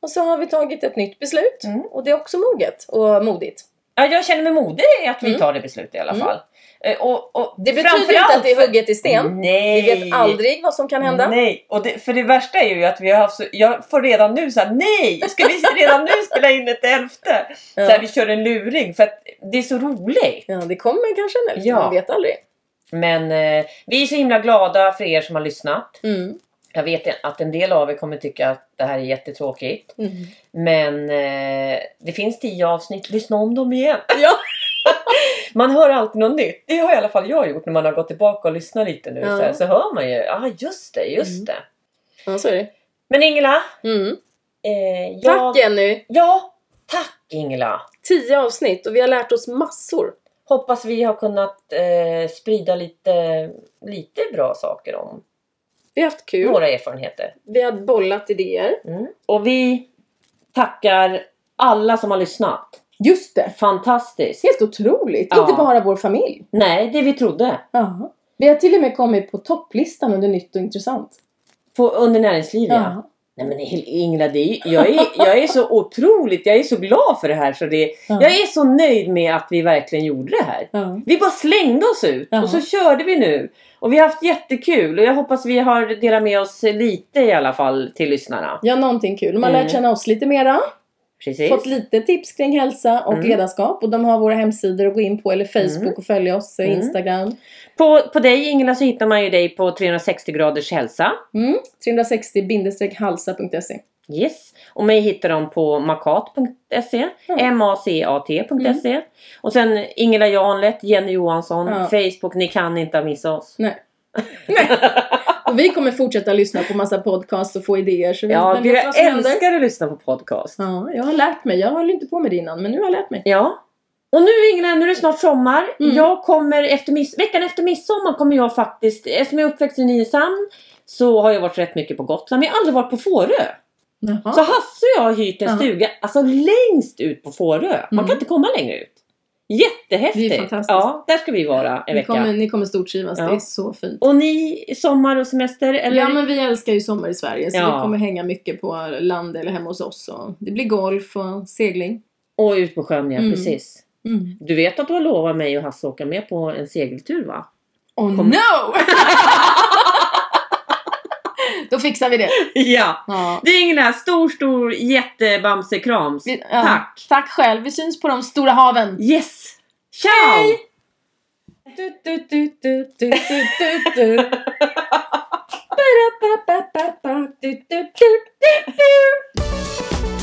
Speaker 2: Och så har vi tagit ett nytt beslut.
Speaker 1: Mm.
Speaker 2: Och det är också moget och modigt.
Speaker 1: Ja, jag känner mig modig att vi
Speaker 2: Mm.
Speaker 1: tar det beslutet i alla
Speaker 2: Mm.
Speaker 1: fall. Eh, Och, och
Speaker 2: Det betyder
Speaker 1: framför
Speaker 2: inte att
Speaker 1: allt
Speaker 2: det
Speaker 1: för-
Speaker 2: är hugget i sten.
Speaker 1: Nej.
Speaker 2: Vi vet aldrig vad som kan hända.
Speaker 1: Nej, och det, för det värsta är ju att vi har haft så, jag får redan nu såhär, nej! Ska vi redan nu spela in ett elfte?
Speaker 2: Ja.
Speaker 1: Så här, vi kör en luring för att det är så roligt.
Speaker 2: Ja, det kommer kanske en elfte,
Speaker 1: Ja.
Speaker 2: man vet aldrig.
Speaker 1: Men eh, vi är så himla glada för er som har lyssnat.
Speaker 2: Mm.
Speaker 1: Jag vet att en del av er kommer tycka att det här är jättetråkigt. Men eh, det finns tio avsnitt, lyssna om dem igen.
Speaker 2: Ja.
Speaker 1: man hör alltid något nytt. Det har i alla fall jag gjort när man har gått tillbaka och lyssnat lite nu.
Speaker 2: Ja.
Speaker 1: Så, här, så hör man ju, ja ah, just det, just
Speaker 2: Mm.
Speaker 1: det.
Speaker 2: Ja, så är det. Men,
Speaker 1: Men Ingela,
Speaker 2: mm.
Speaker 1: eh, jag...
Speaker 2: Tack Jenny!
Speaker 1: Ja, tack Ingela!
Speaker 2: Tio avsnitt och vi har lärt oss massor.
Speaker 1: Hoppas vi har kunnat eh, sprida lite, lite bra saker om
Speaker 2: Vi har haft kul.
Speaker 1: våra erfarenheter. Mm.
Speaker 2: Vi har bollat idéer.
Speaker 1: Och vi tackar alla som har lyssnat.
Speaker 2: Just det!
Speaker 1: Fantastiskt!
Speaker 2: Helt otroligt!
Speaker 1: Ja.
Speaker 2: Inte bara vår familj.
Speaker 1: Nej, det vi trodde.
Speaker 2: Ja. Vi har till och med kommit på topplistan under nytt och intressant.
Speaker 1: På, under näringslivet. Ja. Nej men Ingla, det är, ju- jag, är, jag är så otroligt, jag är så glad för det här. Så det,
Speaker 2: Ja.
Speaker 1: jag är så nöjd med att vi verkligen gjorde det här.
Speaker 2: Ja.
Speaker 1: Vi bara slängde oss ut
Speaker 2: Ja.
Speaker 1: och så körde vi nu. Och vi har haft jättekul och jag hoppas vi har delat med oss lite i alla fall till lyssnarna.
Speaker 2: ja, någonting kul. De har
Speaker 1: Mm.
Speaker 2: lärt känna oss lite mera.
Speaker 1: Precis.
Speaker 2: Fått lite tips kring hälsa och
Speaker 1: Mm.
Speaker 2: ledarskap. Och de har våra hemsidor att gå in på. Eller Facebook
Speaker 1: Mm.
Speaker 2: och följa oss. och
Speaker 1: Mm.
Speaker 2: Instagram.
Speaker 1: På, på dig Ingela så hittar man ju dig på 360 graders hälsa.
Speaker 2: Mm. 360-halsa.se
Speaker 1: Yes. Och mig hittar de på makat.se,
Speaker 2: Ja. Mm.
Speaker 1: macat.se. Och sen Ingela Janlet, Jenny Johansson,
Speaker 2: Ja.
Speaker 1: Facebook, ni kan inte ha missat oss.
Speaker 2: Nej. Och vi kommer fortsätta lyssna på massa podcast och få idéer. Så vi,
Speaker 1: Ja,
Speaker 2: vem
Speaker 1: gud,
Speaker 2: vet vad
Speaker 1: jag
Speaker 2: som händer?
Speaker 1: älskar att lyssna på podcast. Ja.
Speaker 2: Ja, jag har lärt mig. Jag höll inte på med det innan, men nu har jag lärt mig.
Speaker 1: Och nu Ingela, nu är det snart sommar.
Speaker 2: Mm.
Speaker 1: Jag kommer efter miss- veckan efter midsommar kommer jag faktiskt, eftersom jag är uppväxt i Nynäshamn så har jag varit rätt mycket på Gotland, men jag har aldrig varit på Fårö.
Speaker 2: Jaha.
Speaker 1: Så Hasse och jag har hyrt en
Speaker 2: Ja.
Speaker 1: stuga, alltså längst ut på Fårö. Man
Speaker 2: Mm.
Speaker 1: kan inte komma längre ut. Jättehäftigt!
Speaker 2: Det är fantastiskt.
Speaker 1: Ja, där ska vi vara en
Speaker 2: ni,
Speaker 1: vecka.
Speaker 2: kommer, ni kommer stortrivas.
Speaker 1: Ja.
Speaker 2: Det är så fint.
Speaker 1: Och ni, sommar och semester? Eller?
Speaker 2: Ja, men vi älskar ju sommar i Sverige så
Speaker 1: Ja.
Speaker 2: vi kommer hänga mycket på land eller hemma hos oss. Och det blir golf och segling.
Speaker 1: Och ut på sjön, ja
Speaker 2: Mm.
Speaker 1: precis.
Speaker 2: Mm.
Speaker 1: Du vet att du har lovat mig och Hasse att åka med på en segeltur va?
Speaker 2: Oh
Speaker 1: Kom-
Speaker 2: no! Då fixar vi det.
Speaker 1: ja!
Speaker 2: Ja.
Speaker 1: Du Ingela, stor stor jättebamsekrams.
Speaker 2: Vi, ja.
Speaker 1: Tack!
Speaker 2: Tack själv. Vi syns på de stora haven.
Speaker 1: Yes! Ciao!
Speaker 2: Hej! Du, du, du, du, du, du, du, du. Ba-da-ba-ba-ba-ba. Du, du, du, du, du.